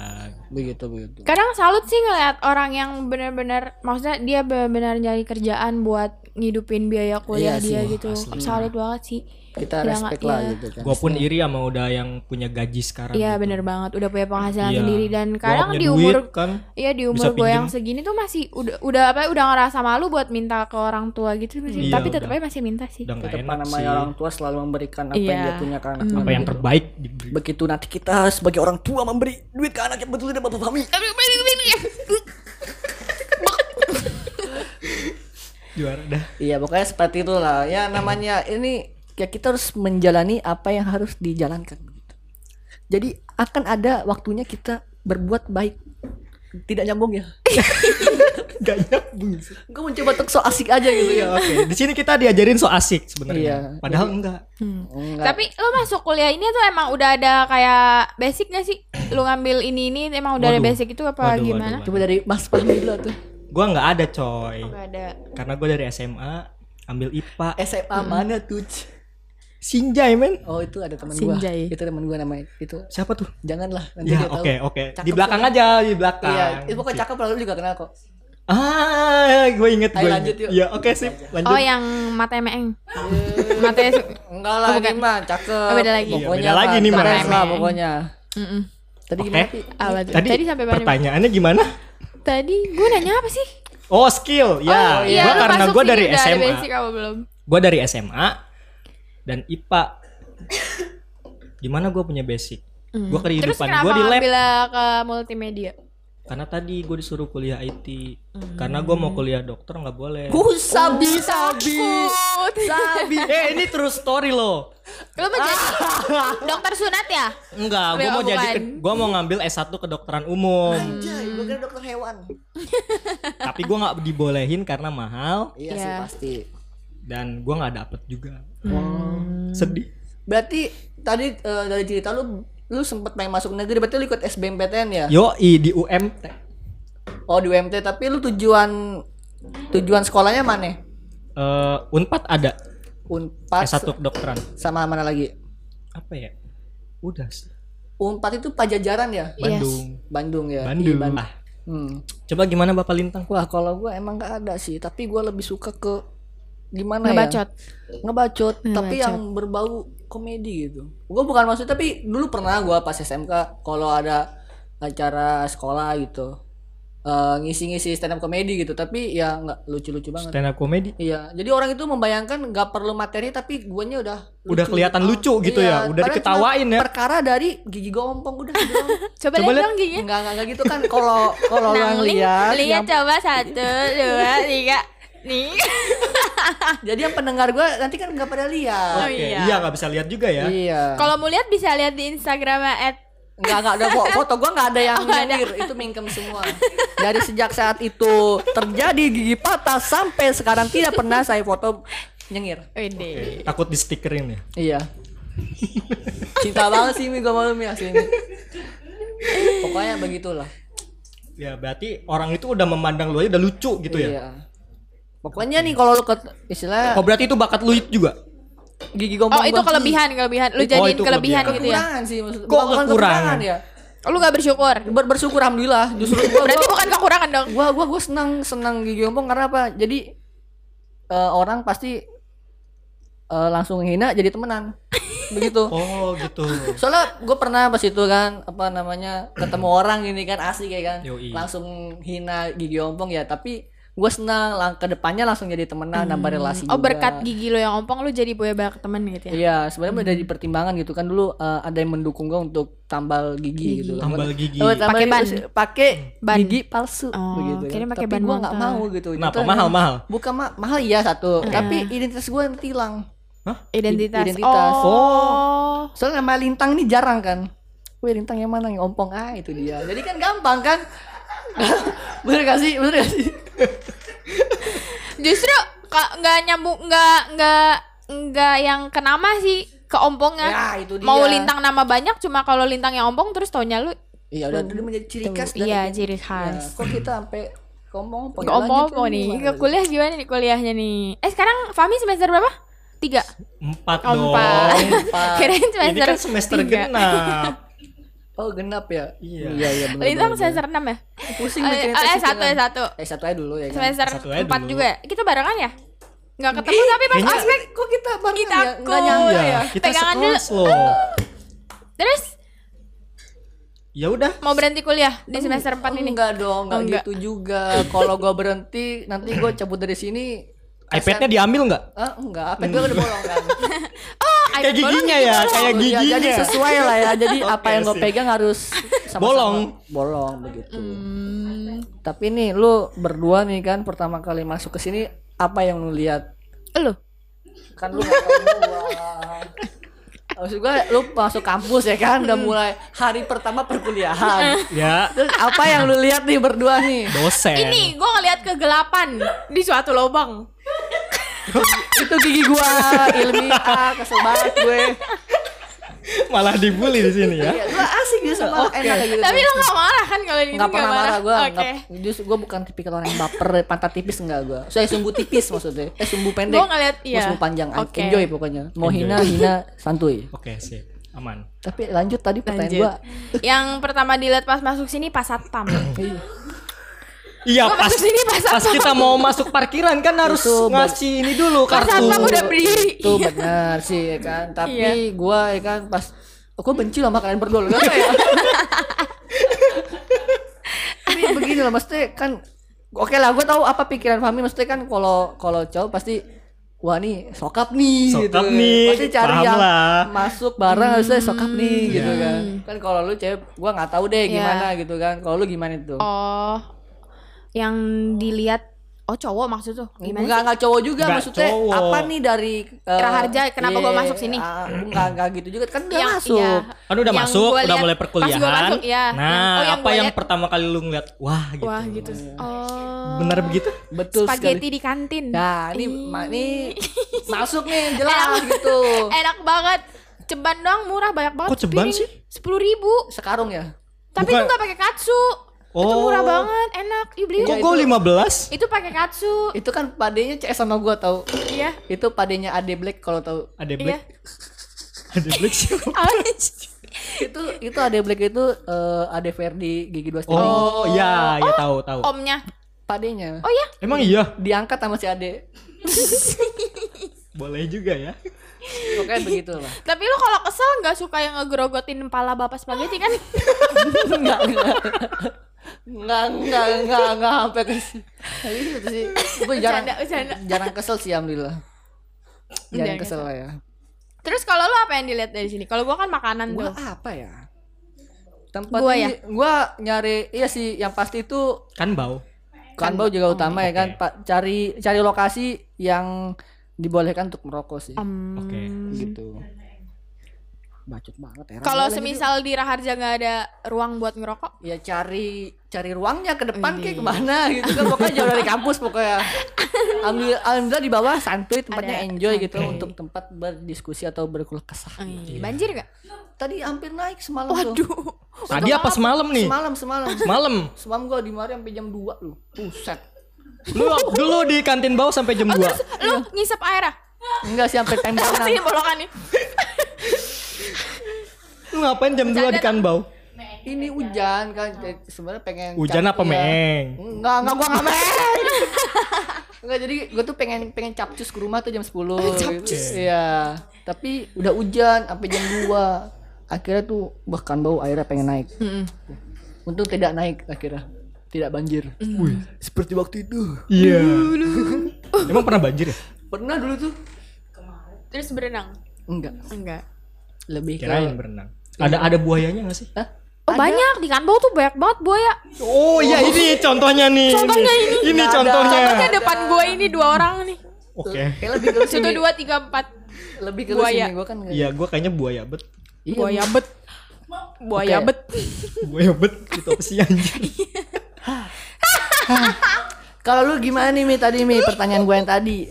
Speaker 1: Begitu begitu.
Speaker 2: Kadang salut sih ngeliat orang yang benar-benar maksudnya dia benar-benar nyari kerjaan buat ngidupin biaya kuliah
Speaker 1: Iya
Speaker 2: dia
Speaker 1: sih,
Speaker 2: gitu.
Speaker 3: asli.
Speaker 2: Salut banget sih.
Speaker 1: Kita
Speaker 2: Iya,
Speaker 1: respect
Speaker 2: nggak-
Speaker 1: lah
Speaker 2: iya.
Speaker 1: gitu kan.
Speaker 3: Gue pun iri sama udah yang punya gaji sekarang.
Speaker 2: Iya
Speaker 3: gitu.
Speaker 2: bener banget udah punya penghasilan
Speaker 3: Iya.
Speaker 2: sendiri dan
Speaker 3: Gua
Speaker 2: kadang
Speaker 3: punya
Speaker 2: di umur
Speaker 3: duit kan.
Speaker 2: Iya di
Speaker 3: Bisa
Speaker 2: umur gue
Speaker 3: pinjem.
Speaker 2: yang segini tuh masih udah udah apa udah ngerasa malu buat minta ke orang tua gitu sih.
Speaker 3: Iya,
Speaker 2: Tapi tetap
Speaker 3: udah.
Speaker 2: aja masih minta sih.
Speaker 3: Udah nggak
Speaker 1: Tetap
Speaker 3: enak
Speaker 1: namanya
Speaker 3: sih.
Speaker 1: orang tua selalu memberikan apa yang
Speaker 2: Iya.
Speaker 1: dia punya ke anaknya.
Speaker 3: Apa yang
Speaker 1: Begitu.
Speaker 3: terbaik diberi.
Speaker 1: Begitu nanti kita sebagai orang tua memberi duit ke anak yang betul tidak bapak kami.
Speaker 3: Juara dah.
Speaker 1: Iya pokoknya seperti itulah. Ya namanya ini ya kita harus menjalani apa yang harus dijalankan. begitu. Jadi akan ada waktunya kita berbuat baik. Tidak nyambung ya.
Speaker 3: Gak nyambung sih.
Speaker 1: Gue mencoba untuk so asik aja gitu ya.
Speaker 3: Oke, di sini kita diajarin so asik
Speaker 1: Iya.
Speaker 3: sebenarnya. Padahal enggak.
Speaker 1: Enggak.
Speaker 2: Tapi lo masuk kuliah ini tuh emang udah ada kayak basic gak sih? Lo ngambil ini ini emang udah ada
Speaker 3: Waduh.
Speaker 2: basic itu apa
Speaker 3: Waduh, waduh,
Speaker 2: gimana?
Speaker 1: coba dari Mas Fahmi dulu tuh.
Speaker 3: Gua nggak ada coy.
Speaker 2: Gak ada.
Speaker 3: Karena gue dari SMA ambil IPA.
Speaker 1: SMA mana tuh? C?
Speaker 3: Eh, Sinjai men.
Speaker 1: Oh itu ada teman gua.
Speaker 2: Sinjai.
Speaker 1: Itu teman gua namanya. Itu
Speaker 3: Siapa tuh?
Speaker 1: janganlah nanti
Speaker 3: Ya
Speaker 1: dia tahu.
Speaker 3: oke oke. Di
Speaker 1: Cakep
Speaker 3: belakang aja, di belakang.
Speaker 1: Iya, itu pokoknya cakep lalu juga kenal kok.
Speaker 3: Ah, gue inget
Speaker 1: Ayo
Speaker 3: gue.
Speaker 1: lanjut yuk.
Speaker 3: Iya oke sip. Lanjut.
Speaker 2: Oh yang matanya meeng. matanya se-
Speaker 1: Enggak lah,
Speaker 2: Oh, bukan.
Speaker 1: ini mah cakep.
Speaker 2: Oh, beda lagi. Iya,
Speaker 1: Pokoknya
Speaker 3: beda lagi nih,
Speaker 1: mah.
Speaker 3: Mas.
Speaker 1: keren lah pokoknya.
Speaker 2: Mm-mm.
Speaker 1: Tadi
Speaker 3: Oke.
Speaker 1: gimana sih?
Speaker 2: Apa tuh?
Speaker 3: Tadi,
Speaker 2: Tadi sampai mana?
Speaker 3: pertanyaannya gimana?
Speaker 2: Tadi gue nanya apa sih?
Speaker 3: Oh skill ya.
Speaker 2: iya,
Speaker 3: Gua
Speaker 2: lo
Speaker 3: karena
Speaker 2: masuk
Speaker 3: gue
Speaker 2: sini
Speaker 3: dari
Speaker 2: udah ada
Speaker 3: SMA.
Speaker 2: basic apa belum?
Speaker 3: Gue dari SMA dan IPA. Gimana gue punya basic? Gue
Speaker 2: Terus
Speaker 3: kehidupan
Speaker 2: Hmm. Mm. kenapa
Speaker 3: gue di lab.
Speaker 2: ngambilnya ke multimedia?
Speaker 3: karena tadi gue disuruh kuliah IT karena gue mau kuliah dokter nggak boleh
Speaker 1: Kusa bisa
Speaker 2: Takut.
Speaker 1: sabi.
Speaker 3: eh ini true story loh
Speaker 2: Lu mau jadi dokter sunat ya?
Speaker 3: enggak gue
Speaker 2: Nggak,
Speaker 3: mau jadi
Speaker 2: bukan.
Speaker 3: gue mau ngambil S1 kedokteran umum
Speaker 1: Anjay, gue kira dokter hewan.
Speaker 3: tapi gue nggak dibolehin karena mahal
Speaker 1: Iya
Speaker 2: Iya.
Speaker 1: sih pasti.
Speaker 3: dan gue nggak dapet juga Hmm. sedih
Speaker 1: Berarti tadi eh, dari cerita lu lu sempet pengen masuk negeri berarti lu ikut SBMPTN
Speaker 3: Iya.
Speaker 1: ya?
Speaker 3: yoi di UMT
Speaker 1: Oh di UMT tapi lu tujuan tujuan sekolahnya mana?
Speaker 3: Eh, unpad ada
Speaker 1: Unpad
Speaker 3: S1 kedokteran
Speaker 1: sama mana lagi?
Speaker 3: apa ya udah sih
Speaker 1: Unpad itu pajajaran ya?
Speaker 3: Bandung
Speaker 1: Bandung ya.
Speaker 3: Bandung
Speaker 1: Iya, Ban-
Speaker 3: Ah,
Speaker 1: Hmm.
Speaker 3: coba gimana Bapak Lintang
Speaker 1: Wah kalau gue emang gak ada sih tapi gue lebih suka ke gimana
Speaker 2: Ngebacot.
Speaker 1: ya? Ngebacot. Tapi yang berbau komedi gitu. Gue bukan maksud tapi dulu pernah gue pas SMK kalau ada acara sekolah gitu eh, ngisi-ngisi stand up komedi gitu tapi ya nggak lucu-lucu banget.
Speaker 3: stand up comedy
Speaker 1: Iya, jadi orang itu membayangkan nggak perlu materi tapi guanya udah
Speaker 3: Udah kelihatan lucu gitu ya, udah
Speaker 1: padahal
Speaker 3: diketawain
Speaker 1: cuma
Speaker 3: ya.
Speaker 1: Perkara dari gigi gompong udah gitu doang.
Speaker 2: Coba,
Speaker 3: Coba
Speaker 2: lihat
Speaker 3: lihat.
Speaker 2: dong giginya.
Speaker 1: Nggak nggak nggak gitu kan kalau kalau lu yang lihat
Speaker 2: Nah, lihat
Speaker 1: yang-
Speaker 2: coba satu, dua, tiga. Nih.
Speaker 1: jadi yang pendengar gua nanti kan nggak pada lihat.
Speaker 2: Oh,
Speaker 3: Oke,
Speaker 2: iya.
Speaker 3: iya nggak bisa lihat juga ya
Speaker 1: Iya.
Speaker 2: Kalau mau lihat bisa lihat di Instagramnya at
Speaker 1: Nggak nggak ada fo- foto gua nggak ada yang
Speaker 2: Oh, nggak ada.
Speaker 1: nyengir, itu mingkem semua. Dari sejak saat itu terjadi gigi patah sampai sekarang tidak pernah saya foto nyengir.
Speaker 2: Oh, Wede.
Speaker 3: takut di stikerin ya
Speaker 1: Iya. Cinta banget sih Mi gua malu Mi asli Mi. Pokoknya begitulah.
Speaker 3: ya berarti orang itu udah memandang lu aja udah lucu gitu ya
Speaker 1: Iya. Pokoknya nih kalau lu ke istilah
Speaker 3: oh berarti itu bakat lu juga
Speaker 1: gigi gombong
Speaker 2: Oh itu
Speaker 1: gua-
Speaker 2: kelebihan, kelebihan. Lu jadiin
Speaker 3: itu
Speaker 2: kelebihan,
Speaker 3: kelebihan.
Speaker 2: gitu ya.
Speaker 1: kekurangan sih maksud
Speaker 3: Kok
Speaker 1: bukan- bukan
Speaker 3: kekurangan?
Speaker 1: ya.
Speaker 2: Lu gak bersyukur.
Speaker 1: Ber bersyukur alhamdulillah justru gua
Speaker 2: Berarti
Speaker 1: gua,
Speaker 2: bukan kekurangan dong.
Speaker 1: gua gua gua senang senang gigi gombong karena apa? Jadi eh, orang pasti eh, langsung hina jadi temenan. Begitu.
Speaker 3: oh gitu
Speaker 1: Soalnya gue pernah pas itu kan apa namanya ketemu orang gini kan asli kayak kan
Speaker 3: Yoi.
Speaker 1: langsung hina gigi ompong ya tapi gue senang lang ke depannya langsung jadi temenan nambah
Speaker 3: Hmm.
Speaker 1: relasi juga.
Speaker 2: Oh berkat gigi lu yang ompong lu jadi punya banyak temen gitu ya.
Speaker 1: Iya, sebenarnya udah dipertimbangkan gitu kan dulu eh, ada yang mendukung gue untuk tambal gigi, gitu.
Speaker 3: tambal gigi
Speaker 1: Oh, tambal
Speaker 2: Pakai
Speaker 1: gigi,
Speaker 2: ban.
Speaker 1: terus pakai
Speaker 2: Ban.
Speaker 1: gigi palsu
Speaker 2: Oh,
Speaker 1: begitu. kan.
Speaker 2: kirain pakai
Speaker 1: Tapi
Speaker 2: ban
Speaker 1: gua nggak
Speaker 2: motor.
Speaker 1: mau gitu.
Speaker 3: kenapa
Speaker 1: Jatuhnya-
Speaker 3: mahal mahal
Speaker 1: Bukan ma- mahal iya satu, tapi identitas gue nanti hilang.
Speaker 2: Identitas.
Speaker 1: Identitas.
Speaker 2: Oh.
Speaker 1: Soalnya nama lintang ini jarang kan. Wih lintang yang mana yang ompong ah itu dia. Jadi kan gampang kan. bener gak sih? Bener gak sih?
Speaker 2: Justru kok nggak nyambung nggak nggak nggak yang ke nama sih ke ompongnya.
Speaker 1: Ya, itu dia.
Speaker 2: Mau lintang nama banyak cuma kalau lintang yang ompong terus taunya lu
Speaker 1: Iya udah udah menjadi ciri khas.
Speaker 2: Tuh, iya, ciri khas.
Speaker 1: kok kita sampai ngomong kan? ompong?
Speaker 2: nggak ompong-ompong Oh, nih. Ke kuliah gimana nih kuliahnya nih? Eh sekarang Fahmi semester berapa? Tiga.
Speaker 3: empat
Speaker 2: Oh,
Speaker 3: dong
Speaker 2: empat.
Speaker 1: Empat.
Speaker 2: Kirain semester
Speaker 3: ini kan semester
Speaker 2: tiga.
Speaker 3: genap
Speaker 1: Oh genap ya?
Speaker 3: Iya.
Speaker 1: Iya iya bener. bener,
Speaker 2: Lintang
Speaker 1: bener.
Speaker 2: semester enam ya?
Speaker 1: Pusing
Speaker 2: Oh,
Speaker 1: nih cerita
Speaker 2: eh,
Speaker 1: sih,
Speaker 2: satu,
Speaker 1: beneran.
Speaker 2: eh, satu.
Speaker 1: Eh satu aja dulu ya kan.
Speaker 2: Semester
Speaker 3: Satu
Speaker 2: 4
Speaker 3: aja dulu. Eh.
Speaker 2: juga. Kita barengan ya? Nggak ketemu tapi pas
Speaker 3: kayaknya-
Speaker 2: ospek
Speaker 1: Kok kita bareng
Speaker 2: kita
Speaker 1: ya?
Speaker 2: aku
Speaker 1: Nggak nyangka
Speaker 2: ya.
Speaker 1: ya.
Speaker 3: Iya, kita
Speaker 2: Pegangan dulu.
Speaker 3: sekelas loh
Speaker 2: Terus
Speaker 3: ya udah
Speaker 2: mau berhenti kuliah di semester 4 ini?
Speaker 1: Enggak dong, enggak
Speaker 2: Oh, enggak.
Speaker 1: gitu juga. Kalau gua berhenti nanti gua cabut dari sini
Speaker 3: iPadnya diambil nggak
Speaker 1: Ah, enggak, apa gue udah bolong kan.
Speaker 3: kayak
Speaker 2: iPhone
Speaker 3: giginya ya kayak
Speaker 1: Ya,
Speaker 3: giginya
Speaker 1: jadi sesuai lah ya. Jadi
Speaker 3: Oke,
Speaker 1: apa yang gue
Speaker 3: sip.
Speaker 1: pegang harus sama-sama
Speaker 3: Bolong.
Speaker 1: bolong begitu.
Speaker 2: Hmm.
Speaker 1: Tapi nih lu berdua nih kan pertama kali masuk ke sini apa yang lu lihat?
Speaker 2: Lu?
Speaker 1: Kan lu nggak tahu gua. Maksud gue lu masuk kampus ya kan udah mulai hari pertama perkuliahan.
Speaker 3: ya
Speaker 1: Terus apa yang lu lihat nih berdua nih?
Speaker 3: dosen
Speaker 2: Ini gue ngeliat kegelapan di suatu lubang.
Speaker 1: Itu gigi gua, ilmiah, kesel banget gue.
Speaker 3: malah dibully di sini ya
Speaker 1: Ya, gua asik gitu sama enak kayak gitu.
Speaker 2: Tapi lo gak marah kan kalau ini
Speaker 1: nggak pernah marah gue
Speaker 2: Oke.
Speaker 1: justru gue bukan tipikal orang yang baper pantat tipis enggak gue saya sumbu tipis maksudnya eh sumbu pendek
Speaker 2: Gue ngeliat
Speaker 1: Gua
Speaker 2: iya.
Speaker 1: sumbu panjang I-
Speaker 2: Oke.
Speaker 1: enjoy pokoknya mau
Speaker 3: Enjoy.
Speaker 1: hina hina santuy
Speaker 3: oke sip aman
Speaker 1: tapi lanjut tadi pertanyaan
Speaker 2: Lanjut.
Speaker 1: gue
Speaker 2: Yang pertama dilihat pas masuk sini pas satpam.
Speaker 3: Iya
Speaker 2: Gua
Speaker 3: pas,
Speaker 2: masuk sini pas
Speaker 3: pas
Speaker 2: satpam.
Speaker 3: kita mau masuk parkiran kan harus
Speaker 1: Itu, Bang.
Speaker 3: ngasih ini dulu
Speaker 2: Pas
Speaker 3: kartu.
Speaker 2: satpam udah berdiri.
Speaker 1: itu benar sih ya kan
Speaker 2: Iya.
Speaker 1: tapi gue ya kan pas aku benci sama kalian berdua loh kenapa ya tapi begini lah maksudnya kan oke lah gue tahu apa pikiran Fahmi maksudnya kan kalau kalau cowok pasti wah nih sokap nih
Speaker 3: Sokap
Speaker 1: gitu.
Speaker 3: nih,
Speaker 1: pasti cari
Speaker 3: paham
Speaker 1: yang
Speaker 3: lah.
Speaker 1: masuk bareng harusnya sokap nih gitu
Speaker 3: Ya.
Speaker 1: kan kan kalau lu cewek gua nggak tahu deh
Speaker 2: Ya.
Speaker 1: gimana gitu kan kalau lu gimana itu
Speaker 2: Oh, yang dilihat oh cowok maksud tuh gimana?
Speaker 1: Enggak enggak cowok juga
Speaker 3: Nggak
Speaker 1: maksudnya
Speaker 3: cowok.
Speaker 1: apa nih dari eh,
Speaker 2: Raharja, kenapa gua
Speaker 1: iya,
Speaker 2: masuk sini?
Speaker 1: ah, enggak enggak gitu juga kan udah
Speaker 2: Yang-
Speaker 1: masuk.
Speaker 2: iya.
Speaker 3: Kan udah
Speaker 2: Yang
Speaker 3: masuk,
Speaker 2: gua
Speaker 3: udah
Speaker 2: lihat
Speaker 3: mulai
Speaker 2: pas gua
Speaker 3: perkuliahan.
Speaker 2: masuk, ya.
Speaker 3: Nah,
Speaker 2: Yang- oh, yang
Speaker 3: apa
Speaker 2: gua
Speaker 3: yang
Speaker 2: lihat-
Speaker 3: pertama kali lu ngeliat? Wah, gitu.
Speaker 2: Wah gitu. Oh.
Speaker 3: Benar begitu?
Speaker 1: Betul
Speaker 2: Spaghetti
Speaker 1: sekali.
Speaker 2: di kantin.
Speaker 1: Nah, ini ma- ini masuk nih
Speaker 2: Eh,
Speaker 1: jelas gitu.
Speaker 2: Enak banget. Ceban doang murah banyak banget.
Speaker 3: Kok ceban sih?
Speaker 2: Sepuluh ribu.
Speaker 1: Sekarung ya.
Speaker 2: Tapi
Speaker 3: Bukan-
Speaker 2: itu nggak pakai katsu. Itu
Speaker 3: Oh.
Speaker 2: murah banget, enak. Ih beli.
Speaker 3: Kok
Speaker 1: Iya,
Speaker 3: gua
Speaker 1: itu-
Speaker 3: 15?
Speaker 2: Itu pakai katsu.
Speaker 1: Itu kan padenya CS sama gua tahu.
Speaker 2: Iya.
Speaker 1: Itu padenya Ade Black kalau tahu.
Speaker 3: Ada
Speaker 2: Iya.
Speaker 3: black. Ada black siapa?
Speaker 1: Itu itu Ade Black itu eh, Ade Verdi gigi dua sendiri.
Speaker 3: Oh, iya, ya tahu, tahu.
Speaker 2: Omnya.
Speaker 1: Padenya.
Speaker 2: Oh ya,
Speaker 3: Emang iya?
Speaker 1: Diangkat sama si Ade.
Speaker 3: Boleh juga ya.
Speaker 1: Pokoknya begitu lah.
Speaker 2: tapi lu kalau kesel nggak suka yang ngegerogotin kepala bapak spaghetti kan?
Speaker 1: Enggak, enggak. Enggak, enggak, enggak, enggak sampai ke situ. Tapi itu sih. Gue jarang
Speaker 2: Bercanda, bercanda.
Speaker 1: jarang kesel sih alhamdulillah.
Speaker 2: Jangan
Speaker 1: Jarang kesel lah ya.
Speaker 2: Terus kalau lu apa yang dilihat dari sini? Kalau gua kan makanan
Speaker 1: Gua
Speaker 2: tuh.
Speaker 1: apa ya? Tempat
Speaker 2: Gua
Speaker 1: ini-
Speaker 2: ya?
Speaker 1: gua nyari iya sih yang pasti itu
Speaker 3: Kan bau.
Speaker 1: kanbau
Speaker 2: Oh,
Speaker 1: juga utama ya kan. Pak cari cari lokasi yang dibolehkan untuk merokok sih.
Speaker 2: Em,
Speaker 3: Oke.
Speaker 1: Gitu. Bacot banget ya, heran
Speaker 2: Kalau
Speaker 1: gua lagi
Speaker 2: semisal di Raharja nggak ada ruang buat ngerokok,
Speaker 1: dulu. ya cari cari ruangnya ke depan
Speaker 2: Iya.
Speaker 1: kayak kemana gitu kan pokoknya jauh dari kampus pokoknya alhamdulillah, alhamdulillah di bawah santuy tempatnya
Speaker 2: Ada
Speaker 1: enjoy gitu untuk tempat berdiskusi atau berkeluh kesah
Speaker 2: eh,
Speaker 3: Iya.
Speaker 2: banjir nggak?
Speaker 1: tadi hampir naik semalam tuh
Speaker 2: Waduh.
Speaker 3: Tadi apa semalam nih?
Speaker 1: semalam semalam
Speaker 3: Malam.
Speaker 1: semalam gua di mari sampai jam 2 lu buset
Speaker 3: Lu dulu di kantin bau sampai jam 2.
Speaker 2: Oh, Terus lu ngisep air ah?
Speaker 1: enggak sih sampai tembakan
Speaker 2: Sini bolokan nih.
Speaker 3: Lu ngapain jam 2 di kan bau?
Speaker 1: ini hujan kan jadi sebenarnya pengen
Speaker 3: Hujan
Speaker 1: cap-
Speaker 3: apa
Speaker 1: iya.
Speaker 3: meeng?
Speaker 1: enggak enggak gua enggak meeng enggak jadi gua tuh pengen pengen capcus ke rumah tuh jam 10 gitu. iya tapi udah hujan sampai jam 2 akhirnya tuh bahkan bau airnya pengen naik untung tidak naik akhirnya tidak banjir Wih, seperti waktu itu
Speaker 3: Iya. Emang pernah banjir ya?
Speaker 1: pernah dulu tuh
Speaker 2: Terus berenang?
Speaker 1: enggak
Speaker 2: Enggak.
Speaker 1: lebih ke
Speaker 3: Kirain berenang. Ada ada buayanya gak sih?
Speaker 1: Hah?
Speaker 2: Oh banyak di Kanbau tuh banyak banget buaya.
Speaker 3: Oh iya ini contohnya nih.
Speaker 2: Contohnya
Speaker 3: ini.
Speaker 1: Nggak
Speaker 3: Ini
Speaker 1: ada.
Speaker 3: contohnya.
Speaker 2: Contohnya kan- depan gua ini dua orang nih.
Speaker 3: Oke.
Speaker 1: Kayak lebih ke lu
Speaker 2: Satu
Speaker 1: sini
Speaker 2: dua tiga empat.
Speaker 1: lebih ke lu
Speaker 2: Buaya.
Speaker 1: sini gua kan nggak-
Speaker 3: Iya, gua kayaknya buaya bet.
Speaker 1: Iya,
Speaker 2: Buaya bet. Buaya
Speaker 1: Oke.
Speaker 2: bet.
Speaker 3: Buaya bet itu apa sih anjir?
Speaker 1: kalau lu gimana nih Mi tadi Mi pertanyaan gua yang tadi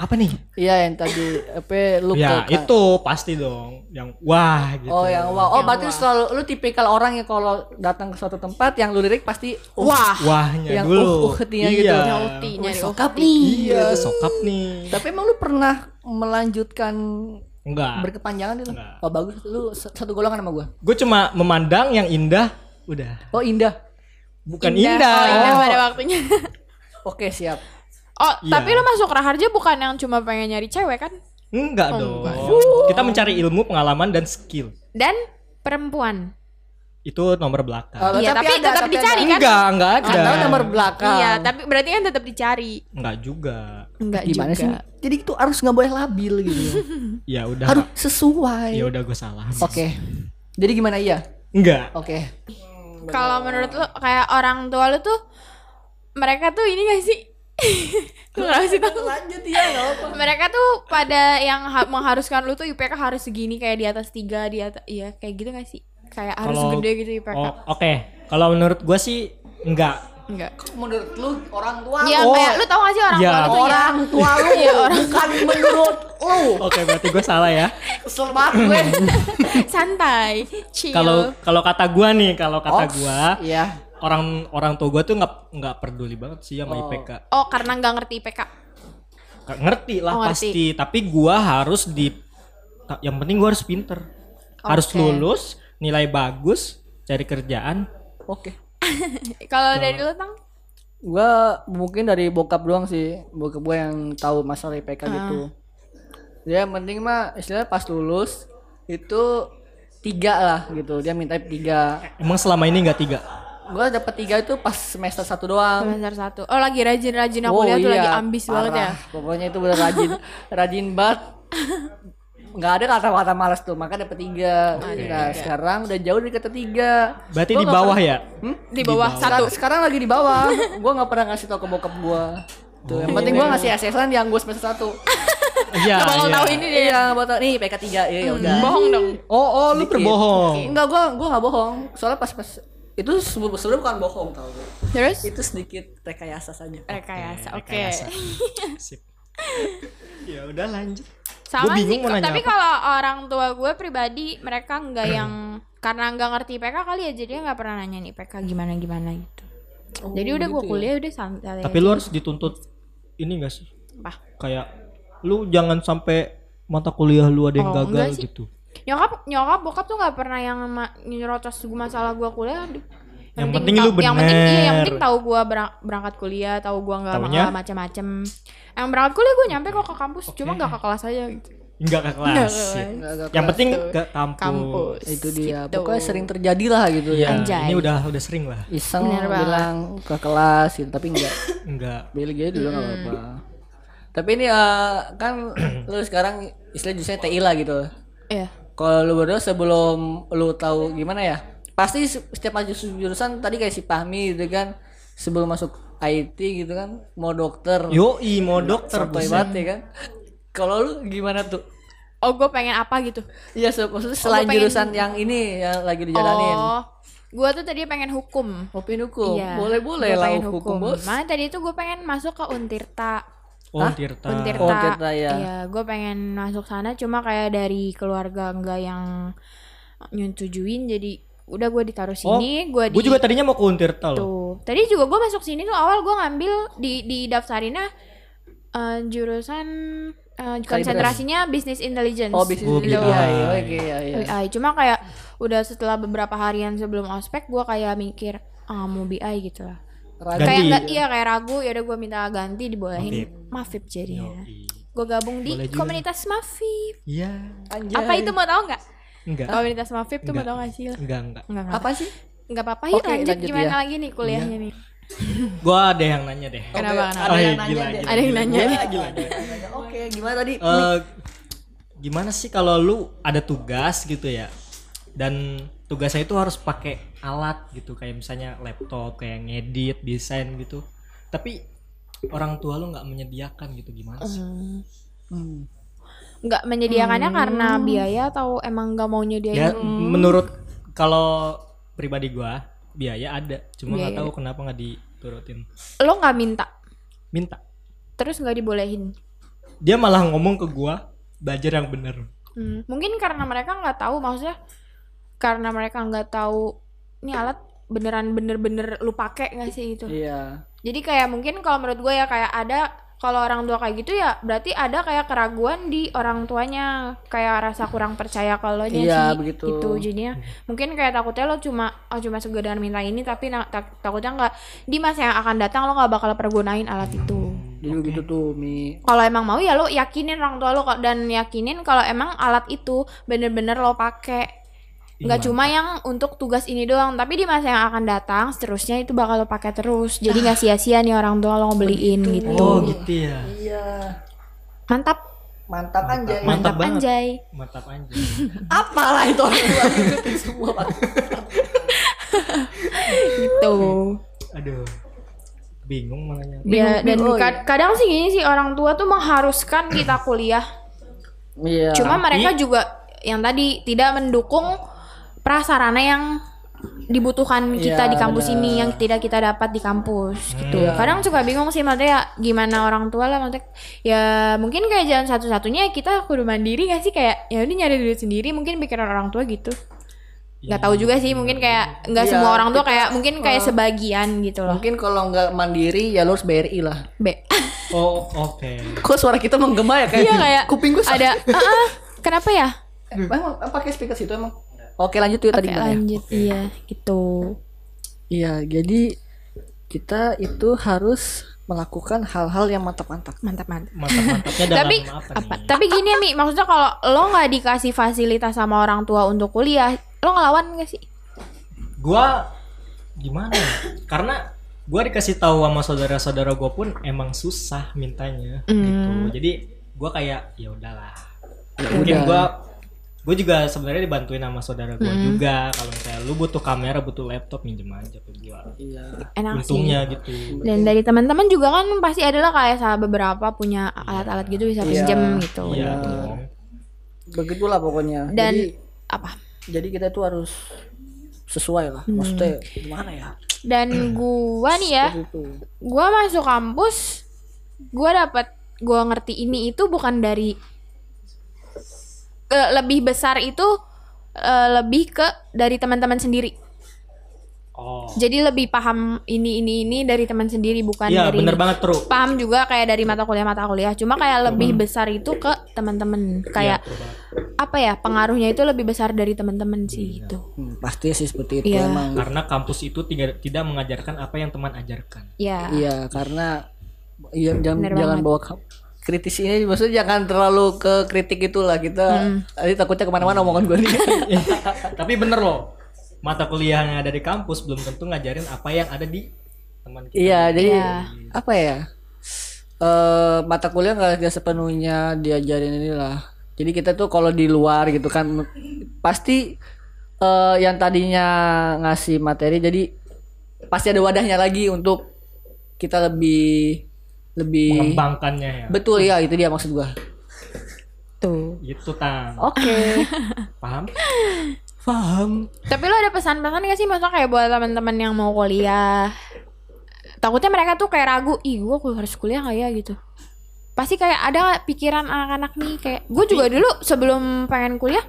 Speaker 3: Apa nih?
Speaker 1: Iya yang tadi apa lu
Speaker 3: Ya
Speaker 1: ke-
Speaker 3: itu pasti dong. Yang wah gitu.
Speaker 1: Oh yang wow. Oh berarti lu selalu lu tipikal orang yang kalau datang ke suatu tempat yang lu lirik pasti
Speaker 2: Wah.
Speaker 3: Wahnya
Speaker 1: Yang
Speaker 3: dulu.
Speaker 1: uh-uh-nya gitu.
Speaker 3: Iya.
Speaker 2: Nyauti
Speaker 1: wah,
Speaker 2: nyari
Speaker 1: sokap nih.
Speaker 3: Iya, sokap nih.
Speaker 1: Tapi emang lu pernah melanjutkan
Speaker 3: Enggak.
Speaker 1: berkepanjangan itu?
Speaker 3: Enggak.
Speaker 1: Oh bagus lu s- satu golongan sama gua.
Speaker 3: Gue cuma memandang yang indah udah.
Speaker 1: Oh indah.
Speaker 3: Bukan
Speaker 2: Indah. Oh, indah
Speaker 3: kan indah.
Speaker 2: pada waktunya.
Speaker 1: Oke siap.
Speaker 2: Oh,
Speaker 3: Iya.
Speaker 2: tapi lu masuk Raharja bukan yang cuma pengen nyari cewek kan?
Speaker 3: Enggak dong. Kita mencari ilmu, pengalaman dan skill.
Speaker 2: Dan perempuan.
Speaker 3: Itu nomor belakang.
Speaker 1: Oh,
Speaker 2: Iya, tapi
Speaker 1: ada,
Speaker 2: tetap dicari. kan?
Speaker 3: Enggak, enggak
Speaker 1: ada.
Speaker 3: ada.
Speaker 1: Atau nomor belakang.
Speaker 2: Iya, tapi berarti kan tetap dicari.
Speaker 3: Enggak juga.
Speaker 2: Enggak
Speaker 1: Gimana sih? Mi?
Speaker 2: juga.
Speaker 1: Jadi itu harus nggak boleh labil gitu.
Speaker 3: Ya udah.
Speaker 1: harus sesuai.
Speaker 3: Ya
Speaker 1: Oke.
Speaker 3: udah gue salah.
Speaker 1: Jadi gimana iya?
Speaker 3: Enggak.
Speaker 1: Oke.
Speaker 2: Kalau menurut lu kayak orang tua lu tuh mereka tuh ini gak sih? Lu nggak kasih tau.
Speaker 1: Lanjut
Speaker 2: iya,
Speaker 1: ya nggak apa.
Speaker 2: Mereka tuh pada yang ha- mengharuskan lu tuh IPK harus segini kayak di atas tiga di atas iya kayak gitu gak sih? Kayak harus
Speaker 3: Kalau-
Speaker 2: gede gitu IPK.
Speaker 3: Oh, Oke. Kalau menurut gue sih enggak.
Speaker 2: Enggak.
Speaker 1: Menurut lu orang tua
Speaker 2: Iya,
Speaker 1: lu-
Speaker 3: oh.
Speaker 2: kayak lu tau gak sih orang
Speaker 3: Iya.
Speaker 2: tua lu tuh ya?
Speaker 1: orang tua lu bukan menurut lu
Speaker 3: Oke, berarti gue salah ya.
Speaker 1: kesel banget gue
Speaker 2: Santai, chill.
Speaker 3: Kalau kalau kata gue nih, kalau kata
Speaker 1: Oh,
Speaker 3: gue
Speaker 1: iya
Speaker 3: orang orang tua gue tuh nggak nggak peduli banget sih sama IPK.
Speaker 2: Oh, karena nggak ngerti IPK.
Speaker 3: Nggak ngerti lah
Speaker 2: Oh, ngerti.
Speaker 3: pasti. Tapi gue harus di. ta- Yang penting gue harus pinter. Harus
Speaker 2: Oke.
Speaker 3: lulus, nilai bagus, cari kerjaan.
Speaker 1: oke
Speaker 2: Kalau dari lu tang
Speaker 1: gue mungkin dari bokap doang sih bokap gue yang tahu masalah IPK gitu dia yang penting mah istilahnya pas lulus itu tiga lah gitu dia minta tiga
Speaker 3: Emang selama ini nggak tiga?
Speaker 1: gue dapet tiga itu pas semester satu doang
Speaker 2: semester satu oh lagi rajin-rajin aku
Speaker 1: Wow,
Speaker 2: lihat tuh
Speaker 1: iya,
Speaker 2: lagi ambis banget ya
Speaker 1: parah. Pokoknya itu bener rajin, rajin banget. Nggak ada kata-kata malas tuh, maka dapet tiga. Nah, sekarang udah jauh dari kata tiga.
Speaker 3: Berarti
Speaker 1: Gua
Speaker 3: di
Speaker 1: nggak
Speaker 3: bawah ya?
Speaker 2: di bawah satu
Speaker 1: Sekarang, sekarang lagi di bawah. gua nggak pernah ngasih tau ke bokap gua. Tuh, yang penting gua ngasih SS-an yang gua semester satu.
Speaker 3: Iya.
Speaker 2: Gak bakal
Speaker 3: iya.
Speaker 2: tahu ini deh
Speaker 1: Iya, buat nih PK tiga, ya udah.
Speaker 2: Hmm. bohong dong
Speaker 3: Oh, oh lu berbohong.
Speaker 1: Enggak, gua gua nggak bohong. Soalnya pas pas itu sebe- sebenarnya bukan bohong tau gua.
Speaker 2: terus
Speaker 1: Itu sedikit rekayasa saja.
Speaker 2: rekayasa oke
Speaker 3: rekayasa. Sip. ya udah lanjut.
Speaker 2: sama sih
Speaker 3: Gua bingung mau nanya
Speaker 2: tapi
Speaker 3: apa.
Speaker 2: kalau orang tua gue pribadi mereka nggak yang karena nggak ngerti PK kali ya jadi nggak pernah nanya nih PK gimana gimana gitu jadi udah gue kuliah udah santai
Speaker 3: Tapi lu harus dituntut ini gak sih?
Speaker 2: Apa?
Speaker 3: Kayak lu jangan sampai mata kuliah lu ada
Speaker 2: Oh,
Speaker 3: yang
Speaker 2: enggak
Speaker 3: gagal
Speaker 2: sih.
Speaker 3: gitu.
Speaker 2: nyokap nyokap bokap tuh nggak pernah yang ma- nyerocos gue masalah gue kuliah aduh.
Speaker 3: Yang penting lu
Speaker 2: tau- yang penting iya yang
Speaker 3: bener.
Speaker 2: penting tahu gue berang- berangkat kuliah tahu gue nggak
Speaker 3: Taunya?
Speaker 2: nggak macam-macam yang berangkat kuliah gue nyampe kok ke kampus cuma nggak ke kelas aja gitu
Speaker 3: Enggak ke kelas.
Speaker 2: Nggak ke
Speaker 3: ya.
Speaker 1: Nggak- nggak
Speaker 3: Yang
Speaker 1: keras
Speaker 3: penting
Speaker 1: tuh.
Speaker 3: ke kampus.
Speaker 2: kampus
Speaker 1: itu dia.
Speaker 2: gitu.
Speaker 1: Pokoknya sering terjadi lah gitu ya.
Speaker 3: Ya,
Speaker 2: Anjay.
Speaker 3: ini udah udah sering lah.
Speaker 1: iseng
Speaker 2: Bener banget.
Speaker 1: bilang ke kelas gitu tapi enggak
Speaker 3: Enggak.
Speaker 1: bilang gitu juga
Speaker 2: Hmm.
Speaker 1: nggak apa-apa tapi ini eh, kan lu sekarang istilah justru TI lah gitu
Speaker 2: Iya.
Speaker 1: kalau lu berdua sebelum lu tahu gimana ya pasti se- setiap maju jurusan tadi kayak si Pahmi gitu kan sebelum masuk IT gitu kan mau dokter
Speaker 3: Yoi mau dokter
Speaker 1: sotoy
Speaker 3: buset.
Speaker 1: banget ya kan kalau lu gimana tuh
Speaker 2: oh gue pengen apa gitu
Speaker 1: Iya, se- maksudnya selain
Speaker 2: pengen-
Speaker 1: jurusan yang ini yang lagi dijalanin.
Speaker 2: oh gue tuh tadi pengen hukum
Speaker 1: Oh, Opini hukum.
Speaker 2: Iya,
Speaker 1: Boleh-boleh
Speaker 2: gua
Speaker 1: lah
Speaker 2: pengen
Speaker 1: hukum, bos.
Speaker 2: Makanya tadi itu gue pengen masuk ke Untirta.
Speaker 3: Oh, Tirta.
Speaker 2: Untirta.
Speaker 1: Oh, Tirta, ya.
Speaker 2: Iya, gue pengen masuk sana cuma kayak dari keluarga enggak yang nyetujuin jadi udah gue ditaruh
Speaker 1: Oh,
Speaker 2: sini, gue di
Speaker 3: Gue juga tadinya mau ke Untirta loh.
Speaker 2: tuh. Tadi juga gue masuk sini tuh awal gue ngambil di di daftarinnya eh, jurusan eh, konsentrasinya bisnis intelligence.
Speaker 1: Oh, bisnis
Speaker 3: Oh,
Speaker 1: itu.
Speaker 3: BI.
Speaker 1: Iya, iya, oke, iya, iya.
Speaker 2: BI. Cuma kayak udah setelah beberapa harian sebelum ospek gue kayak mikir ah mau BI gitu lah.
Speaker 1: Ragu.
Speaker 3: Ganti.
Speaker 2: Kayak nggak iya kayak ragu ya udah gue minta ganti dibolehin
Speaker 3: Mafib.
Speaker 2: mafib jadinya.
Speaker 3: Yoi.
Speaker 2: Gue gabung di
Speaker 3: Boleh juga.
Speaker 2: komunitas mafib.
Speaker 3: Iya.
Speaker 1: Anjay.
Speaker 2: Apa itu mau tau nggak?
Speaker 3: Enggak.
Speaker 2: Komunitas mafib tuh mau
Speaker 3: Enggak.
Speaker 2: tau gak sih? Nggak
Speaker 3: Enggak, enggak.
Speaker 2: nggak apa
Speaker 1: Apa sih?
Speaker 2: nggak apa-apa yuk
Speaker 1: Oke,
Speaker 2: lanjut,
Speaker 1: lanjut
Speaker 2: gimana
Speaker 1: ya.
Speaker 2: lagi nih kuliahnya nih?
Speaker 3: Gua ada yang nanya deh.
Speaker 2: Kenapa kenapa?
Speaker 1: Ada
Speaker 3: Oh,
Speaker 1: yang
Speaker 3: iya,
Speaker 1: nanya deh.
Speaker 2: Ada yang nanya.
Speaker 3: Gila, gila, gila.
Speaker 1: Oke, gimana tadi?
Speaker 3: Eh, gimana sih kalau lu ada tugas gitu ya dan tugasnya itu harus pakai alat gitu kayak misalnya laptop kayak ngedit desain gitu tapi orang tua lu nggak menyediakan gitu gimana sih
Speaker 1: Hmm.
Speaker 2: Nggak menyediakannya karena biaya atau emang nggak mau
Speaker 3: ya
Speaker 2: nyediain?
Speaker 3: menurut kalau pribadi gua biaya ada cuma nggak
Speaker 2: Biaya
Speaker 3: tahu kenapa nggak diturutin
Speaker 2: Lo nggak minta,
Speaker 3: minta
Speaker 2: terus nggak dibolehin?
Speaker 3: dia malah ngomong ke gua belajar yang bener
Speaker 2: Hmm, Mungkin karena mereka nggak tahu maksudnya karena mereka nggak tahu ini alat beneran bener-bener lu pakai nggak sih gitu?
Speaker 1: Iya.
Speaker 2: Jadi kayak mungkin kalau menurut gue ya kayak ada kalau orang tua kayak gitu ya berarti ada kayak keraguan di orang tuanya kayak rasa kurang percaya kalau nya
Speaker 1: Iya,
Speaker 2: sih
Speaker 1: begitu.
Speaker 2: gitu jadinya mungkin kayak takutnya lo cuma oh cuma sekedar minta ini tapi na- tak- takutnya nggak di masa yang akan datang lo nggak bakal pergunain alat itu
Speaker 1: Jadi begitu tuh, Mi.
Speaker 2: kalau emang mau ya lo yakinin orang tua lo kok dan yakinin kalau emang alat itu bener-bener lo pakai nggak
Speaker 3: Iya.
Speaker 2: cuma yang untuk tugas ini doang tapi di masa yang akan datang seterusnya itu bakal lo pakai terus jadi nggak sia-sia nih orang tua lo ngebeliin gitu
Speaker 3: Ah. oh gitu ya
Speaker 1: Iya.
Speaker 2: mantap
Speaker 1: Mantap anjay.
Speaker 3: mantap, banget
Speaker 2: anjay
Speaker 3: mantap aja
Speaker 1: Apalah itu orang tua ngikutin semua. Pak.
Speaker 2: gitu
Speaker 3: aduh bingung malahnya
Speaker 2: ya dan
Speaker 1: Bingung,
Speaker 2: kad- kadang sih gini sih orang tua tuh mengharuskan kita kuliah
Speaker 1: Iya.
Speaker 2: cuma mereka juga yang tadi tidak mendukung prasarana yang dibutuhkan kita
Speaker 1: Iya,
Speaker 2: di kampus
Speaker 1: benar. Hmm. Iya.
Speaker 2: ini yang tidak kita dapat di kampus gitu kadang suka bingung sih maksudnya ya gimana orang tua lah maksudnya ya mungkin kayak jalan satu-satunya kita kudu mandiri gak sih kayak ya udah nyari duit sendiri mungkin pikiran orang tua gitu nggak tahu juga sih mungkin kayak nggak
Speaker 1: Iya,
Speaker 2: semua orang tua kayak mungkin kayak sebagian gitu loh
Speaker 1: Mungkin kalau nggak mandiri ya lu harus BRI lah.
Speaker 2: B
Speaker 3: oh oke
Speaker 1: Kok suara kita menggema ya kayak?
Speaker 2: iya kayak
Speaker 1: kuping gue
Speaker 2: ada "Ah, ah, kenapa ya
Speaker 1: Emang emang pakai speaker situ emang. Oke, lanjut tuh tadi
Speaker 2: Oke,
Speaker 1: gimana ya?
Speaker 2: lanjut iya gitu
Speaker 1: Iya, jadi kita itu harus melakukan hal-hal yang mantap-mantap.
Speaker 2: mantap mantap
Speaker 3: mantap-mantapnya dalam
Speaker 2: tapi
Speaker 3: apa,
Speaker 2: apa,
Speaker 3: nih?
Speaker 2: tapi gini mi maksudnya kalau lo nggak dikasih fasilitas sama orang tua untuk kuliah lo ngelawan gak sih
Speaker 3: Gua gimana ya? karena gua dikasih tahu sama saudara-saudara gua pun emang susah mintanya gitu
Speaker 2: Hmm.
Speaker 3: jadi gua kayak ya udahlah
Speaker 1: Ya
Speaker 3: mungkin
Speaker 1: udah.
Speaker 3: gua gue juga sebenarnya dibantuin sama saudara gua
Speaker 2: Hmm.
Speaker 3: juga kalau misalnya lu butuh kamera butuh laptop minjem aja ke gua
Speaker 1: Iya.
Speaker 2: enak Nah, sih.
Speaker 3: untungnya gitu
Speaker 2: Dan dari teman-teman juga kan pasti adalah kayak salah beberapa punya alat-alat gitu bisa
Speaker 1: Iya.
Speaker 2: pinjam gitu.
Speaker 3: iya
Speaker 1: Iya.
Speaker 3: dong
Speaker 1: Begitulah pokoknya.
Speaker 2: Dan
Speaker 1: jadi,
Speaker 2: apa?
Speaker 1: jadi kita tuh harus sesuai lah. Maksudnya gimana ya?
Speaker 2: Dan gua nih Hmm. ya,
Speaker 1: Itu.
Speaker 2: gua masuk kampus, gua dapat gua ngerti ini itu bukan dari eh, lebih besar itu eh, lebih ke dari teman-teman sendiri.
Speaker 3: oh
Speaker 2: Jadi lebih paham ini ini ini dari teman sendiri bukan
Speaker 3: iya
Speaker 2: dari
Speaker 3: bener banget true
Speaker 2: paham juga kayak dari mata kuliah mata kuliah. Cuma kayak lebih besar itu ke teman-teman. Kayak
Speaker 3: Iya.
Speaker 2: apa ya pengaruhnya itu lebih besar dari teman-teman
Speaker 3: Iya.
Speaker 2: sih gitu. itu.
Speaker 1: Hmm, pasti sih seperti itu
Speaker 2: Iya.
Speaker 1: emang.
Speaker 3: karena kampus itu tidak tidak mengajarkan apa yang teman ajarkan
Speaker 2: Ya.
Speaker 1: Iya, karena iya jangan
Speaker 2: Bener
Speaker 1: jangan
Speaker 2: banget.
Speaker 1: bawa ke- kritis ini maksudnya jangan terlalu ke kritik itulah kita
Speaker 2: Hmm.
Speaker 1: tadi takutnya kemana-mana omongan gue nih
Speaker 3: Tapi bener loh, mata kuliah yang ada di kampus belum tentu ngajarin apa yang ada di teman kita.
Speaker 1: iya jadi
Speaker 2: Iya.
Speaker 1: apa ya Eh mata kuliah nggak nggak sepenuhnya diajarin inilah jadi kita tuh kalau di luar gitu kan pasti eh yang tadinya ngasih materi jadi pasti ada wadahnya lagi untuk kita lebih
Speaker 2: Iya.
Speaker 1: lebih
Speaker 3: Mengembangkannya ya.
Speaker 1: betul ya itu dia maksud gua
Speaker 2: Tuh. Oh.
Speaker 3: Itu tang.
Speaker 1: oke
Speaker 3: Gitu, Paham? Paham.
Speaker 2: Tapi lo ada pesan-pesan gak sih maksudnya kayak buat teman-teman yang mau kuliah? Takutnya mereka tuh kayak ragu, ih gue harus kuliah gak ya gitu. Pasti kayak ada pikiran anak-anak nih kayak gue juga
Speaker 3: Iya.
Speaker 2: dulu sebelum pengen kuliah,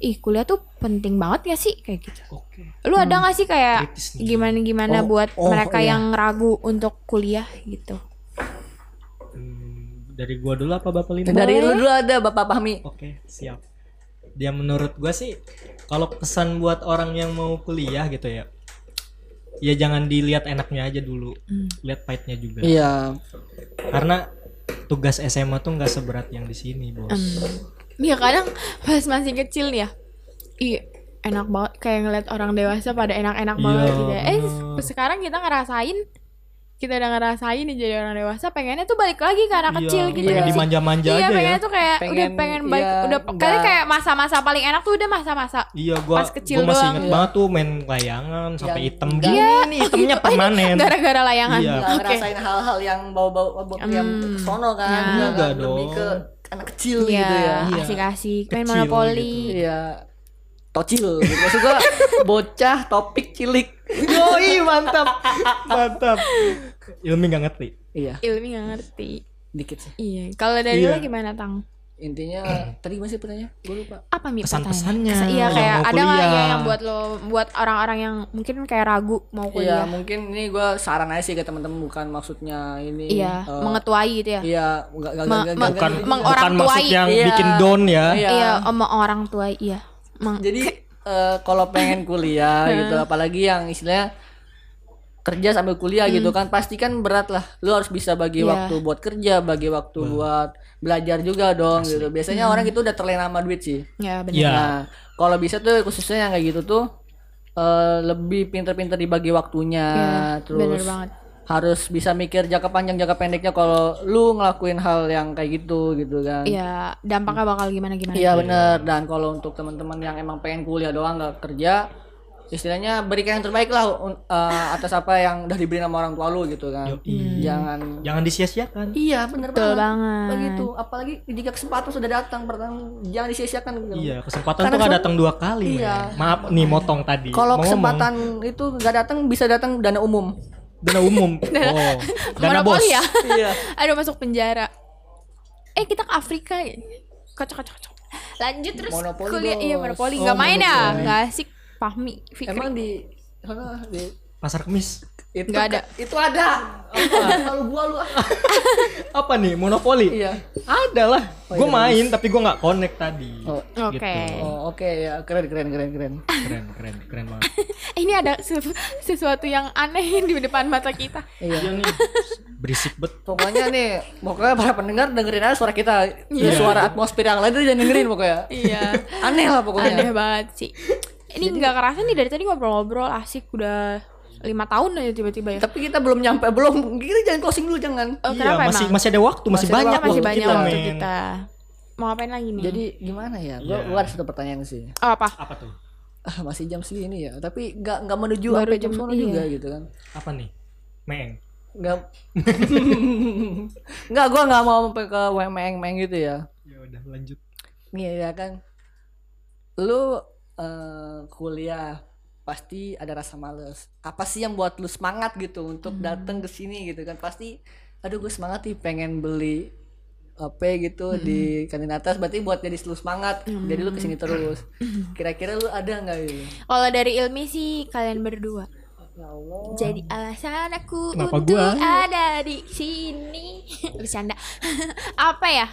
Speaker 2: ih kuliah tuh penting banget gak sih kayak gitu.
Speaker 3: Oke.
Speaker 2: Lu ada gak sih kayak
Speaker 3: Hmm. Kritis gitu. nih.
Speaker 2: gimana-gimana
Speaker 1: Oh,
Speaker 2: buat
Speaker 1: oh,
Speaker 2: mereka
Speaker 1: iya.
Speaker 2: yang ragu untuk kuliah gitu?
Speaker 3: Hmm, dari gua dulu apa Bapak Lima?
Speaker 1: dari lu dulu ada bapak Fahmi
Speaker 3: Oke, siap. Dia menurut gua sih kalau pesan buat orang yang mau kuliah gitu ya. Ya jangan dilihat enaknya aja dulu.
Speaker 2: Hmm.
Speaker 3: Lihat pahitnya juga.
Speaker 1: Iya,
Speaker 3: Karena tugas SMA tuh nggak seberat yang di sini, Bos.
Speaker 2: Ya kadang pas masih kecil nih ya Iya enak banget kayak ngeliat orang dewasa pada enak-enak
Speaker 3: Iya,
Speaker 2: banget gitu ya. Eh
Speaker 3: bener.
Speaker 2: sekarang kita ngerasain kita udah ngerasain nih jadi orang dewasa pengennya tuh balik lagi ke anak
Speaker 3: Iya,
Speaker 2: kecil gitu
Speaker 3: pengen
Speaker 2: nggak sih?
Speaker 3: dimanja-manja
Speaker 2: iya,
Speaker 3: aja ya.
Speaker 2: pengennya tuh kayak udah
Speaker 1: Pengen-
Speaker 2: pengen balik
Speaker 1: iya,
Speaker 2: udah
Speaker 1: nggak-
Speaker 2: kali kayak masa-masa paling enak tuh udah masa-masa
Speaker 3: Iya, gua,
Speaker 2: Pas kecil
Speaker 3: gua masih
Speaker 2: doang.
Speaker 3: inget
Speaker 1: Iya.
Speaker 3: banget tuh main layangan sampai
Speaker 1: Yang-
Speaker 3: hitam gitu.
Speaker 1: Iya.
Speaker 3: gini nih hitamnya permanen.
Speaker 2: gara-gara layangan.
Speaker 3: Iya.
Speaker 1: nggak
Speaker 2: Oke.
Speaker 1: ngerasain hal-hal yang bau-bau bau yang
Speaker 2: Hmm.
Speaker 1: sono kan,
Speaker 2: Ya.
Speaker 1: Nggak-
Speaker 3: Enggak
Speaker 1: lebih
Speaker 3: dong.
Speaker 1: ke anak kecil
Speaker 2: Iya,
Speaker 1: gitu ya.
Speaker 3: Iya.
Speaker 2: asik-asik main
Speaker 3: Kecil gitu.
Speaker 2: monopoli.
Speaker 1: Iya, tocil. gitu. Maksud gua bocah topik cilik. Yoi mantap.
Speaker 3: Mantap. Ilmi nggak ngerti.
Speaker 1: Iya,
Speaker 2: Ilmi nggak ngerti.
Speaker 1: dikit sih.
Speaker 2: Iya. Kalau dari lu
Speaker 3: Iya.
Speaker 2: gimana Tang?
Speaker 1: Intinya tadi masih pertanyaan, gue lupa.
Speaker 2: apa mi
Speaker 3: Kesan-kesannya
Speaker 2: Kesan- iya
Speaker 3: yang
Speaker 2: kayak
Speaker 3: mau
Speaker 2: ada nggak ya
Speaker 3: kuliah.
Speaker 2: yang buat lo buat orang-orang yang mungkin kayak ragu mau
Speaker 1: Iya,
Speaker 2: kuliah
Speaker 1: mungkin ini gua saran aja sih ke teman-teman bukan maksudnya ini.
Speaker 2: iya
Speaker 1: eh,
Speaker 2: mengetuai gitu ya
Speaker 1: Iya, enggak enggak
Speaker 2: Me-
Speaker 1: enggak-
Speaker 2: me-
Speaker 1: enggak-
Speaker 3: Bukan
Speaker 1: enggak-
Speaker 2: meng-
Speaker 3: bukan
Speaker 2: orang
Speaker 3: maksud
Speaker 2: tuai.
Speaker 3: yang
Speaker 1: Iya.
Speaker 3: bikin down ya.
Speaker 1: Iya.
Speaker 2: iya om orang tua iya Meng-
Speaker 1: Jadi eh, kalau pengen kuliah gitu, apalagi yang istilahnya kerja sambil kuliah gitu kan, pasti kan berat lah. Lu harus bisa bagi
Speaker 2: Hmm. Iya.
Speaker 1: waktu buat kerja, bagi waktu buat belajar juga dong gitu. Biasanya
Speaker 2: Hmm.
Speaker 1: orang itu udah terlena sama duit sih.
Speaker 2: ya benar
Speaker 3: Iya.
Speaker 1: Nah, kalau bisa tuh khususnya yang kayak gitu tuh eh, lebih pinter-pinter dibagi waktunya,
Speaker 2: Iya, bener
Speaker 1: terus kan
Speaker 2: banget.
Speaker 1: harus bisa mikir jangka panjang jangka pendeknya kalau lu ngelakuin hal yang kayak gitu gitu kan.
Speaker 2: iya dampaknya bakal gimana gimana
Speaker 1: Iya bener Dan kalau untuk teman-teman yang emang pengen kuliah doang nggak kerja, istilahnya berikan yang terbaik lah un- eh, atas apa yang udah diberi sama orang tua lu gitu kan.
Speaker 3: Yoi.
Speaker 1: Jangan.
Speaker 3: Jangan disia-siakan.
Speaker 1: Iya bener
Speaker 2: betul
Speaker 1: banget.
Speaker 2: banget
Speaker 1: Begitu. Apalagi jika kesempatan sudah datang, pertama jangan disia-siakan. Gitu.
Speaker 3: Iya, kesempatan
Speaker 1: Karena
Speaker 3: tuh nggak
Speaker 1: kesem-
Speaker 3: datang dua kali.
Speaker 1: Iya.
Speaker 3: men. Maaf nih motong tadi.
Speaker 1: Kalau
Speaker 3: Mau
Speaker 1: kesempatan itu nggak datang bisa datang dana umum.
Speaker 3: ngomong. dana umum. Oh, dana bos.
Speaker 2: monopoli ya
Speaker 1: Iya.
Speaker 2: aduh masuk penjara eh kita ke Afrika ya kocok kocok kocok lanjut terus
Speaker 1: Monopoli,
Speaker 2: kuliah iya
Speaker 1: Bos.
Speaker 2: monopoli
Speaker 1: Oh,
Speaker 2: nggak main ya
Speaker 1: monopoli.
Speaker 2: nggak asik pahmi Fikri
Speaker 1: Emang di sana di
Speaker 3: Pasar kemis.
Speaker 1: itu
Speaker 2: Nggak ada.
Speaker 1: Itu ada. Apa? Kalau gua lu ah.
Speaker 3: Apa nih? Monopoli.
Speaker 1: Iya.
Speaker 3: Ada lah.
Speaker 2: Oh, iya,
Speaker 3: gue main tapi gue nggak connect tadi.
Speaker 1: Oh.
Speaker 2: Oke.
Speaker 3: gitu.
Speaker 1: Oh, oke ya keren keren keren keren.
Speaker 3: Keren, keren, keren banget.
Speaker 2: Eh, ini ada sesu- sesuatu yang aneh di depan mata kita.
Speaker 1: Iya.
Speaker 3: Iya nih. Berisik bet.
Speaker 1: Pokoknya nih, pokoknya para pendengar dengerin aja suara kita.
Speaker 3: Iya.
Speaker 1: Suara atmosfer yang lain tuh jangan dengerin pokoknya.
Speaker 2: Iya,
Speaker 1: Aneh lah
Speaker 2: aneh
Speaker 3: Oh,
Speaker 1: pokoknya.
Speaker 2: banget sih. Ini nggak kerasa nih dari tadi ngobrol-ngobrol asik udah lima tahun aja tiba-tiba ya
Speaker 1: Tapi kita belum nyampe, belum. Kita jangan closing dulu jangan.
Speaker 2: Eh,
Speaker 3: iya,
Speaker 2: kenapa
Speaker 3: masih
Speaker 2: emang?
Speaker 3: masih ada waktu, masih,
Speaker 1: Masih ada
Speaker 3: banyak
Speaker 2: Iya, masih
Speaker 3: waktu
Speaker 2: banyak
Speaker 3: kita,
Speaker 2: waktu
Speaker 3: men.
Speaker 2: kita mau ngapain lagi nih
Speaker 1: Jadi gimana ya? Gua,
Speaker 3: Iya.
Speaker 1: gua ada satu pertanyaan sih.
Speaker 2: oh, apa
Speaker 3: Apa tuh?
Speaker 1: Ah, masih jam segini ya, tapi nggak nggak menuju
Speaker 2: Baru
Speaker 1: sampai jam
Speaker 2: jam-
Speaker 1: sono
Speaker 2: iya.
Speaker 1: juga gitu kan.
Speaker 3: Apa nih? Meng.
Speaker 1: Nggak Nggak, gua nggak mau sampai ke wemeng-meng gitu ya.
Speaker 3: Ya udah lanjut.
Speaker 1: Iya ya kan. Lu eh, kuliah pasti ada rasa males. Apa sih yang buat lu semangat gitu untuk
Speaker 2: Hmm.
Speaker 1: datang ke sini gitu kan? Pasti aduh gue semangat nih pengen beli apa
Speaker 2: Hmm.
Speaker 1: gitu di kantin atas berarti buat jadi lu semangat. Jadi lu kesini
Speaker 2: Hmm.
Speaker 1: terus. Kira-kira lu ada nggak gitu?
Speaker 2: kalau dari ilmi sih kalian berdua
Speaker 1: Ya Allah.
Speaker 2: jadi alasan aku
Speaker 3: Kenapa
Speaker 2: untuk
Speaker 3: gua?
Speaker 2: ada di sini bercanda apa ya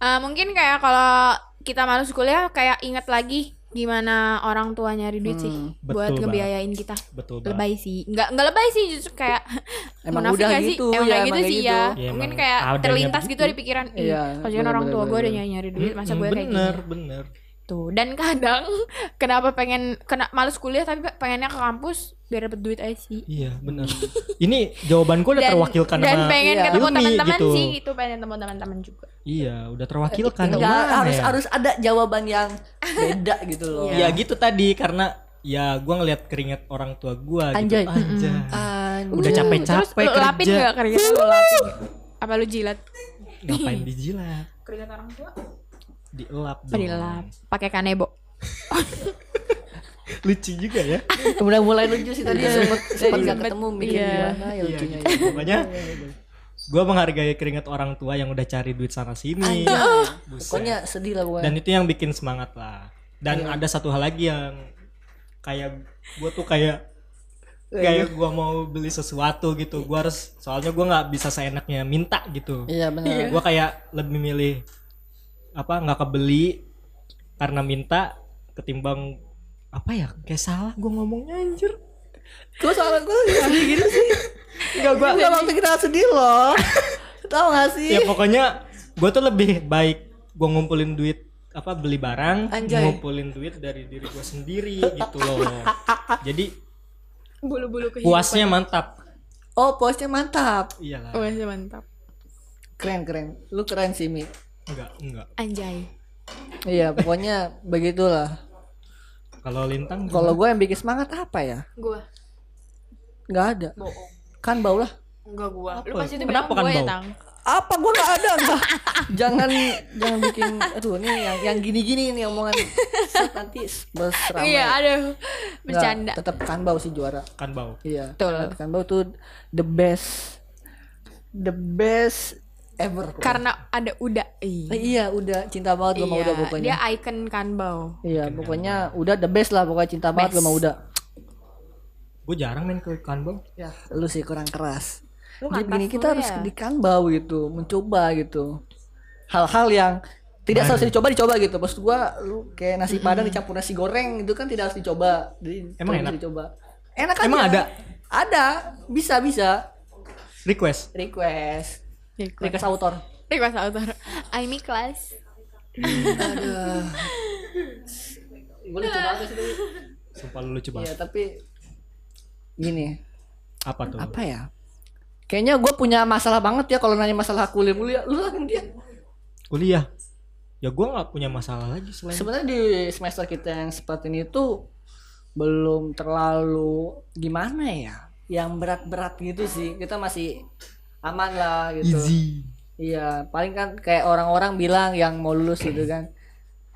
Speaker 2: Eh, mungkin kayak kalau kita masuk kuliah kayak inget lagi gimana orang tua nyari duit sih
Speaker 3: Hmm, betul
Speaker 2: buat
Speaker 3: banget.
Speaker 2: ngebiayain kita
Speaker 3: Betul banget.
Speaker 2: lebay sih nggak nggak lebay sih justru kayak
Speaker 1: Emang
Speaker 2: munafik
Speaker 1: udah
Speaker 2: nggak
Speaker 1: gitu, ya,
Speaker 2: sih emang
Speaker 1: emang
Speaker 2: kayak gitu
Speaker 1: kayak
Speaker 2: sih
Speaker 1: gitu.
Speaker 2: ya
Speaker 3: Ya, emang
Speaker 2: mungkin kayak
Speaker 3: adanya
Speaker 2: terlintas
Speaker 3: begitu.
Speaker 2: gitu di pikiran
Speaker 1: Iya,
Speaker 2: iya kasihan
Speaker 1: bener,
Speaker 2: orang
Speaker 1: bener,
Speaker 2: tua gue
Speaker 1: bener,
Speaker 2: udah nyari duit masa
Speaker 3: Mm,
Speaker 2: gue kayak
Speaker 3: bener,
Speaker 2: gini
Speaker 3: bener.
Speaker 2: tuh dan kadang kenapa pengen kena males kuliah tapi pengennya ke kampus biar dapet duit aja sih
Speaker 3: Iya, bener. Ini jawaban gue udah terwakilkan
Speaker 2: dan
Speaker 3: sama
Speaker 2: pengen
Speaker 1: iya,
Speaker 2: ketemu
Speaker 3: Yumi
Speaker 2: teman-teman
Speaker 3: gitu.
Speaker 2: sih gitu pengen ketemu teman-teman juga
Speaker 3: Iya, udah terwakilkan.
Speaker 1: Nggak,
Speaker 3: Gimana
Speaker 1: harus
Speaker 3: ya?
Speaker 1: harus ada jawaban yang beda gitu loh.
Speaker 2: Iya.
Speaker 3: Ya gitu tadi karena ya gue ngelihat keringat orang tua gue
Speaker 1: Anjay.
Speaker 3: gitu.
Speaker 1: Anjay.
Speaker 3: Anjay. Udah
Speaker 2: Hmm. terus
Speaker 3: capek-capek
Speaker 2: lu
Speaker 3: kerja.
Speaker 2: lapin nggak keringat lu lapin nggak? apa lu jilat
Speaker 3: Ngapain dijilat?
Speaker 2: keringat orang tua
Speaker 3: Dielap dong.
Speaker 2: dilap pakai kanebo
Speaker 3: Lucu juga ya.
Speaker 1: Udah mulai lucu sih tadi sempet Iya. sempet nggak
Speaker 2: Sempet,
Speaker 1: ketemu mikir
Speaker 2: iya.
Speaker 1: gimana ya lucunya. ya.
Speaker 3: Pokoknya gue menghargai keringat orang tua yang udah cari duit sana sini.
Speaker 1: Pokoknya sedih lah gue.
Speaker 3: Dan itu yang bikin semangat lah. Dan
Speaker 2: Iya.
Speaker 3: ada satu hal lagi yang kayak gue tuh kayak
Speaker 2: Iya.
Speaker 3: kayak gue mau beli sesuatu gitu. Gue harus soalnya gue nggak bisa seenaknya minta gitu.
Speaker 1: Iya benar.
Speaker 3: gue kayak lebih milih apa nggak kebeli karena minta ketimbang apa ya kayak salah gue ngomongnya anjir
Speaker 1: Gue soalnya gue sedih gitu sih.
Speaker 3: nggak gue
Speaker 1: Gue waktu kita sedih loh. Tahu gak sih?
Speaker 3: ya pokoknya gue tuh lebih baik gue ngumpulin duit apa beli barang
Speaker 1: Anjay.
Speaker 3: ngumpulin duit dari diri gue sendiri gitu loh jadi
Speaker 2: bulu-bulu
Speaker 1: Iya,
Speaker 3: puasnya mantap
Speaker 1: Oh posnya mantap.
Speaker 3: iyalah
Speaker 2: Wes, Oh, iya, mantap
Speaker 1: Keren keren. Lu keren sih Mi.
Speaker 3: enggak enggak
Speaker 2: anjay
Speaker 1: Iya pokoknya begitulah.
Speaker 3: kalau lintang
Speaker 1: Kalau gue yang bikin semangat apa ya?
Speaker 2: gua
Speaker 1: Gak ada.
Speaker 2: bohong
Speaker 1: Kan bau lah.
Speaker 2: enggak gua lu
Speaker 3: Apa?
Speaker 2: pasti itu
Speaker 3: Kenapa
Speaker 2: bilang
Speaker 3: kan
Speaker 2: gua ya
Speaker 3: bau?
Speaker 2: tang
Speaker 1: Apa gue gak ada enggak. jangan jangan bikin aduh ini yang yang gini-gini nih omongan Set, nanti berseramai.
Speaker 2: iya aduh bercanda
Speaker 1: tetap kan bau sih juara.
Speaker 3: kan bau
Speaker 1: Iya.
Speaker 2: Betul.
Speaker 1: Karena Kanbau tuh the best the best ever.
Speaker 2: karena ada udah iya,
Speaker 1: Eh, iya, udah cinta banget sama udah pokoknya.
Speaker 2: dia
Speaker 3: ya?
Speaker 2: icon kan, kanbau
Speaker 1: Iya, pokoknya udah the best lah pokoknya cinta banget sama udah.
Speaker 3: gue jarang main ke kanbau
Speaker 1: Ya, lu sih kurang keras.
Speaker 2: Lu
Speaker 1: Jadi
Speaker 2: nggak
Speaker 1: begini
Speaker 2: keras
Speaker 1: kita
Speaker 2: dulu
Speaker 1: harus
Speaker 2: ya?
Speaker 1: di Kanbau gitu, mencoba gitu. Hal-hal yang tidak seharusnya dicoba dicoba gitu. Maksud gua lu kayak nasi padang dicampur nasi goreng gitu kan tidak harus dicoba. Jadi,
Speaker 3: Emang
Speaker 1: harus
Speaker 3: enak?
Speaker 1: dicoba. Enak aja.
Speaker 3: Emang ada?
Speaker 1: Ada, bisa bisa
Speaker 3: request
Speaker 1: request.
Speaker 2: Request.
Speaker 1: Request autor.
Speaker 2: Request author. I'm ikhlas.
Speaker 1: Gue lucu banget sih tadi.
Speaker 3: sumpah lu lucu
Speaker 1: Iya
Speaker 3: banget
Speaker 1: tapi gini
Speaker 3: apa tuh
Speaker 1: apa ya? Kayaknya gue punya masalah banget ya kalau nanya masalah kuliah kuliah. Lu lah kan dia.
Speaker 3: kuliah ya gue nggak punya masalah lagi selain
Speaker 1: Sebenarnya di semester kita yang seperti ini tuh belum terlalu gimana ya? Yang berat-berat gitu sih. Kita masih aman lah gitu.
Speaker 3: easy
Speaker 1: Iya, paling kan kayak orang-orang bilang yang mau lulus gitu kan.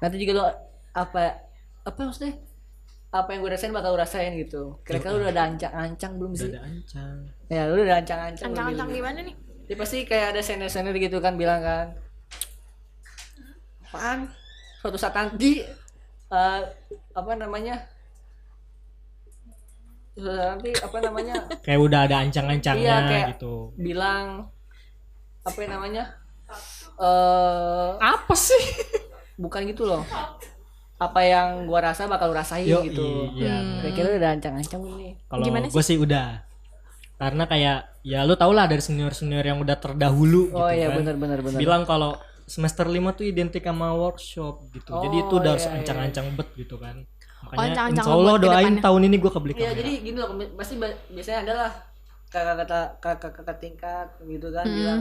Speaker 1: Nanti juga lo apa apa maksudnya? Apa yang gue rasain bakal lo rasain gitu. Kira-kira lu udah ada ancang-ancang belum
Speaker 3: udah
Speaker 1: sih?
Speaker 3: ada ancang
Speaker 1: Ya, lu udah ada ancang-ancang. belum
Speaker 2: Ancang-ancang
Speaker 1: gitu?
Speaker 2: gimana nih?
Speaker 1: Dia pasti kayak ada senior-senior gitu kan bilang kan. Apaan? Suatu saat nanti eh, apa namanya? Suatu saat nanti apa namanya?
Speaker 3: kayak udah ada ancang-ancangnya
Speaker 1: Iya, kayak-
Speaker 3: gitu
Speaker 1: bilang apa yang namanya? Eh
Speaker 3: apa sih
Speaker 1: bukan gitu loh. Apa yang gua rasa bakal lu rasain
Speaker 3: Yo,
Speaker 1: gitu.
Speaker 3: iya
Speaker 1: Kira-kira udah ancang-ancang belum nih.
Speaker 3: kalau
Speaker 2: Gimana
Speaker 3: gue sih udah karena kayak ya lu tau lah dari senior senior yang udah terdahulu
Speaker 1: Oh
Speaker 3: gitu
Speaker 1: iya
Speaker 3: kan
Speaker 1: benar benar benar.
Speaker 3: bilang kalau semester 5 tuh identik sama workshop gitu jadi itu
Speaker 1: Oh,
Speaker 3: udah harus
Speaker 1: iya, Oh, iya.
Speaker 3: ancang-ancang bet gitu kan Makanya
Speaker 2: jangan-jangan
Speaker 3: insya Allah
Speaker 2: buat ke
Speaker 3: doain
Speaker 2: depannya.
Speaker 3: tahun ini gue kebeli kamera.
Speaker 1: Iya jadi gini loh kemi- pasti ba- biasanya adalah kakak-kakak kakak-kakak tingkat gitu kan bilang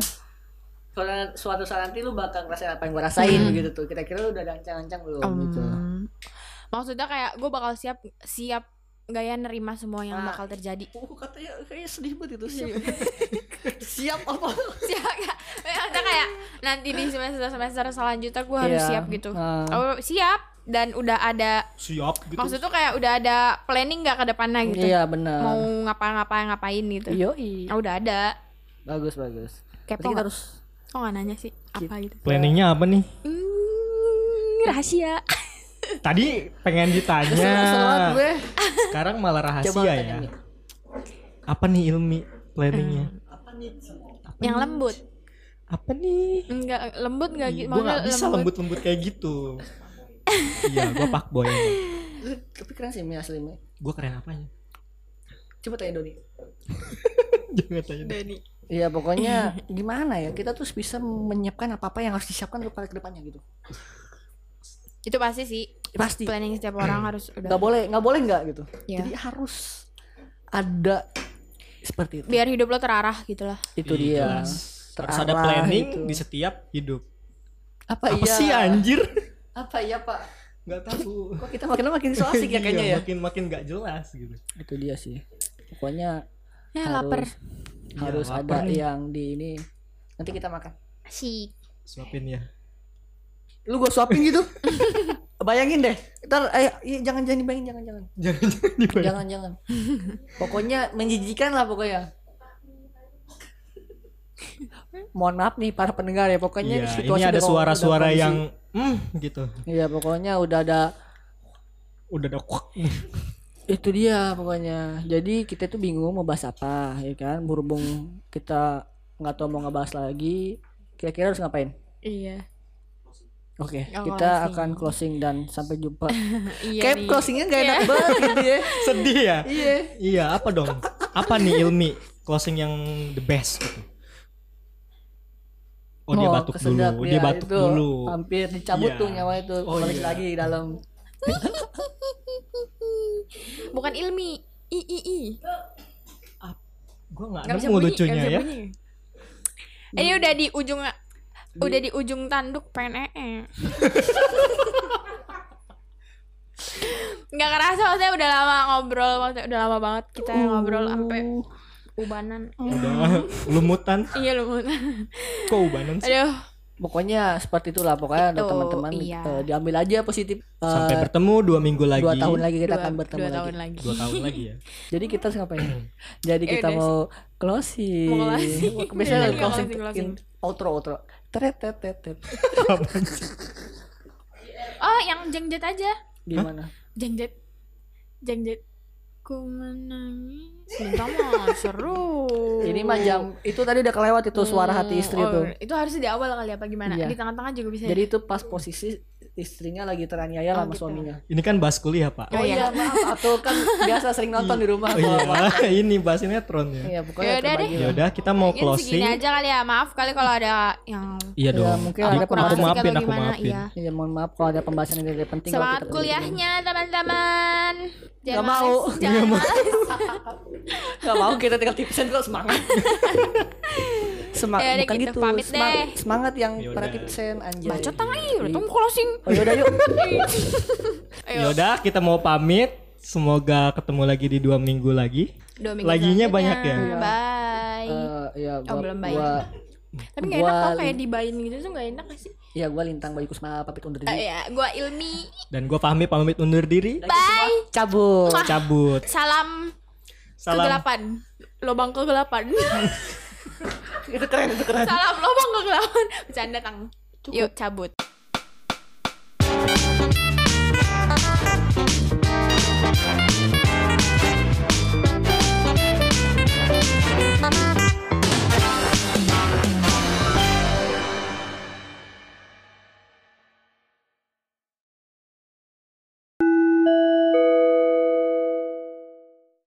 Speaker 1: "Suara- suatu saat nanti lu bakal ngerasain apa yang gua rasain gitu tuh kira-kira lu udah ada ancang-ancang belum gitu
Speaker 2: Hmm. Maksudnya kayak gue bakal siap siap gaya nerima semua yang
Speaker 1: Ah.
Speaker 2: bakal terjadi.
Speaker 1: oh katanya kayaknya sedih banget itu sih siap apa
Speaker 2: Siap gak? Maksudnya kayak nanti di semester semester selanjutnya gue harus
Speaker 1: Iya.
Speaker 2: siap gitu.
Speaker 1: Ah.
Speaker 2: Oh, siap dan udah ada
Speaker 3: Siap gitu.
Speaker 2: maksud tuh kayak udah ada planning nggak ke depannya gitu.
Speaker 1: iya benar
Speaker 2: Mau ngapa-ngapain ngapain gitu.
Speaker 1: yoi
Speaker 2: Ah, udah ada.
Speaker 1: bagus bagus Berarti
Speaker 2: Kepo
Speaker 1: kita
Speaker 2: nggak?
Speaker 1: harus
Speaker 2: Kok nggak nanya sih apa gitu?
Speaker 3: Planningnya apa nih?
Speaker 2: Hmm, rahasia.
Speaker 3: Tadi pengen ditanya.
Speaker 1: Kesel banget gue
Speaker 3: Sekarang malah rahasia
Speaker 1: coba
Speaker 3: ya.
Speaker 1: tanya nih Hmm.
Speaker 3: Apa nih ilmi planningnya?
Speaker 1: apa nih
Speaker 2: yang lembut.
Speaker 3: Apa nih?
Speaker 2: Enggak lembut
Speaker 1: Ya,
Speaker 2: enggak gitu.
Speaker 3: Gue
Speaker 2: Maksudnya
Speaker 3: gak bisa lembut-lembut kayak gitu. iya, gue fuckboy.
Speaker 1: Lu- tapi keren sih Mi asli Mi
Speaker 3: Gue keren apanya?
Speaker 1: coba tanya Doni
Speaker 3: Jangan tanya. deh.
Speaker 1: Iya pokoknya gimana ya kita tuh bisa menyiapkan apa-apa yang harus disiapkan untuk ke depannya gitu.
Speaker 2: Itu pasti sih.
Speaker 1: Ya, pasti.
Speaker 2: Planning setiap orang harus udah
Speaker 1: Gak boleh nggak boleh nggak gitu.
Speaker 2: Iya.
Speaker 1: Jadi harus ada seperti itu.
Speaker 2: biar hidup lo terarah gitu lah.
Speaker 1: Itu
Speaker 3: Iya,
Speaker 1: dia.
Speaker 3: jelas. Harus ada
Speaker 1: Terarah
Speaker 3: planning
Speaker 1: gitu.
Speaker 3: di setiap hidup.
Speaker 1: Apa,
Speaker 3: Apa
Speaker 1: iya?
Speaker 3: sih anjir?
Speaker 1: Apa iya Pak?
Speaker 3: Gak tahu.
Speaker 1: Kok kita makin lama makin so asik ya
Speaker 3: Iya,
Speaker 1: kayaknya ya.
Speaker 3: Makin makin gak jelas gitu.
Speaker 1: Itu dia sih. Pokoknya
Speaker 2: Ya
Speaker 1: harus
Speaker 2: lapar
Speaker 1: harus
Speaker 3: Iya,
Speaker 1: ada
Speaker 3: lapar nih.
Speaker 1: yang di ini. Nanti kita makan.
Speaker 2: sih.
Speaker 3: Suapin ya.
Speaker 1: Lu gua suapin gitu. Bayangin deh. Ntar eh iya, jangan jangan dibayangin jangan jangan.
Speaker 3: Jangan jangan dibayar.
Speaker 1: jangan jangan pokoknya menjijikan lah pokoknya mohon maaf nih para pendengar ya pokoknya
Speaker 3: Iya,
Speaker 1: situasi
Speaker 3: ini
Speaker 1: udah-
Speaker 3: ada suara-suara
Speaker 1: udah kondisi-
Speaker 3: yang hmm gitu.
Speaker 1: iya pokoknya udah ada
Speaker 3: Udah ada kuak.
Speaker 1: itu dia pokoknya jadi kita tuh bingung mau bahas apa ya kan berhubung kita nggak tahu mau ngebahas lagi kira-kira harus ngapain
Speaker 2: Iya.
Speaker 1: oke
Speaker 2: Oh,
Speaker 1: kita
Speaker 2: closing.
Speaker 1: akan closing dan sampai jumpa
Speaker 2: Iya
Speaker 1: kayak
Speaker 2: nih. Iya.
Speaker 1: closingnya gak enak banget gitu ya
Speaker 3: Sedih ya?
Speaker 1: iya
Speaker 3: iya, apa dong? Apa nih Ilmi closing yang the best gitu? Oh, dia
Speaker 1: Oh,
Speaker 3: batuk
Speaker 1: kesedap
Speaker 3: dulu,
Speaker 1: dia
Speaker 3: dia batuk
Speaker 1: itu.
Speaker 3: dulu.
Speaker 1: Hampir dicabut
Speaker 3: Iya.
Speaker 1: tuh nyawa itu.
Speaker 3: Oh,
Speaker 1: Balik
Speaker 3: iya.
Speaker 1: lagi di dalam.
Speaker 2: Bukan ilmi. I i i.
Speaker 3: Gua nggak
Speaker 2: Nggak
Speaker 3: nemu lucunya ya.
Speaker 2: bunyi. Ini udah di ujung udah di ujung tanduk E. pengen ee. Nggak kerasa maksudnya udah lama ngobrol maksudnya udah lama banget kita
Speaker 1: Uh.
Speaker 2: ngobrol sampai ubanan.
Speaker 1: Oh.
Speaker 3: Udah lumutan.
Speaker 2: Iya lu.
Speaker 3: Kok ubanan sih?
Speaker 2: Aduh.
Speaker 1: Pokoknya seperti itulah pokoknya untuk
Speaker 2: Itu,
Speaker 1: teman-teman
Speaker 2: iya.
Speaker 1: eh, diambil aja positif. Eh,
Speaker 3: Sampai bertemu dua minggu lagi.
Speaker 1: dua tahun lagi kita
Speaker 2: dua,
Speaker 1: akan bertemu
Speaker 2: dua
Speaker 1: lagi.
Speaker 2: tahun lagi.
Speaker 3: Dua tahun lagi ya.
Speaker 1: Jadi kita harus ngapain?
Speaker 3: Hmm.
Speaker 1: Jadi
Speaker 2: Ya
Speaker 1: kita
Speaker 2: udah
Speaker 1: mau closing.
Speaker 2: Mau closing.
Speaker 1: Biasanya closing,
Speaker 2: Iya, closing, closing.
Speaker 1: in- outro outro. Tret tret tret tret.
Speaker 3: Apaan sih?
Speaker 2: Oh, yang jengjet aja.
Speaker 1: Gimana?
Speaker 2: Jengjet. Jengjet. Ku menangis. Minta mah seru.
Speaker 1: Ini mah jam itu tadi udah kelewat itu suara hati istri
Speaker 2: Oh,
Speaker 1: tuh.
Speaker 2: Itu harusnya di awal kali apa gimana?
Speaker 1: Iya.
Speaker 2: Di tengah-tengah juga bisa.
Speaker 1: Jadi itu pas posisi istrinya lagi teraniaya
Speaker 2: Oh,
Speaker 1: sama
Speaker 2: gitu.
Speaker 1: suaminya.
Speaker 3: Ini kan bahas kuliah, Pak.
Speaker 2: Oh,
Speaker 1: Oh iya,
Speaker 2: iya.
Speaker 1: maaf atau kan biasa sering nonton di rumah.
Speaker 3: Oh
Speaker 1: kalau
Speaker 3: iya, malah ini bahas sinetron ya.
Speaker 1: Iya, pokoknya
Speaker 2: Yaudah deh.
Speaker 1: terbagi
Speaker 3: Ya
Speaker 1: lah.
Speaker 3: udah, kita mau
Speaker 2: Mungkin segini
Speaker 3: closing.
Speaker 2: aja kali ya. Maaf kali kalau ada yang
Speaker 3: Iya
Speaker 1: Ya,
Speaker 3: dong.
Speaker 1: mungkin
Speaker 3: Aku-
Speaker 1: ada
Speaker 3: aku
Speaker 1: kurang asik
Speaker 3: maafin,
Speaker 2: atau
Speaker 3: aku
Speaker 2: gimana,
Speaker 3: maafin.
Speaker 2: iya.
Speaker 1: Iya, mohon maaf kalau ada pembahasan yang tidak penting. kalau
Speaker 2: Semangat
Speaker 1: kita-
Speaker 2: kuliahnya teman-teman.
Speaker 1: Nggak mau.
Speaker 2: males, Jangan males.
Speaker 1: Gak mau kita tinggal tipsen kok semangat. semangat
Speaker 2: Yaudah,
Speaker 1: bukan
Speaker 2: gitu,
Speaker 1: itu.
Speaker 2: pamit
Speaker 1: Semangat,
Speaker 2: deh.
Speaker 1: semangat yang
Speaker 3: Yaudah.
Speaker 1: para tipsen anjay.
Speaker 2: Bacot tangan iya, udah temu closing.
Speaker 1: Oh yaudah yuk. Eh,
Speaker 2: Ayo.
Speaker 3: Ya udah, kita mau pamit. Semoga ketemu lagi di dua minggu lagi.
Speaker 2: Dua minggu selanjutnya. Iya.
Speaker 3: Laginya banyak ya?
Speaker 2: Bye.
Speaker 1: Eh, ya gua,
Speaker 2: Oh, belum bayar.
Speaker 1: gua,
Speaker 2: Tapi gak enak tau
Speaker 1: gua-
Speaker 2: kayak dibayin gitu tuh gak enak gak sih?
Speaker 1: ya gua lintang bayu kusma pamit undur
Speaker 2: Eh,
Speaker 1: diri.
Speaker 2: ya, gua Ilmi.
Speaker 3: Dan gue pamit pamit undur diri.
Speaker 2: Bye.
Speaker 1: Cabut.
Speaker 3: Cabut.
Speaker 2: Salam,
Speaker 3: Salam.
Speaker 2: kegelapan. Lobang kegelapan.
Speaker 1: itu keren itu keren.
Speaker 2: Salam lobang kegelapan. Bercanda tang. Yuk cabut.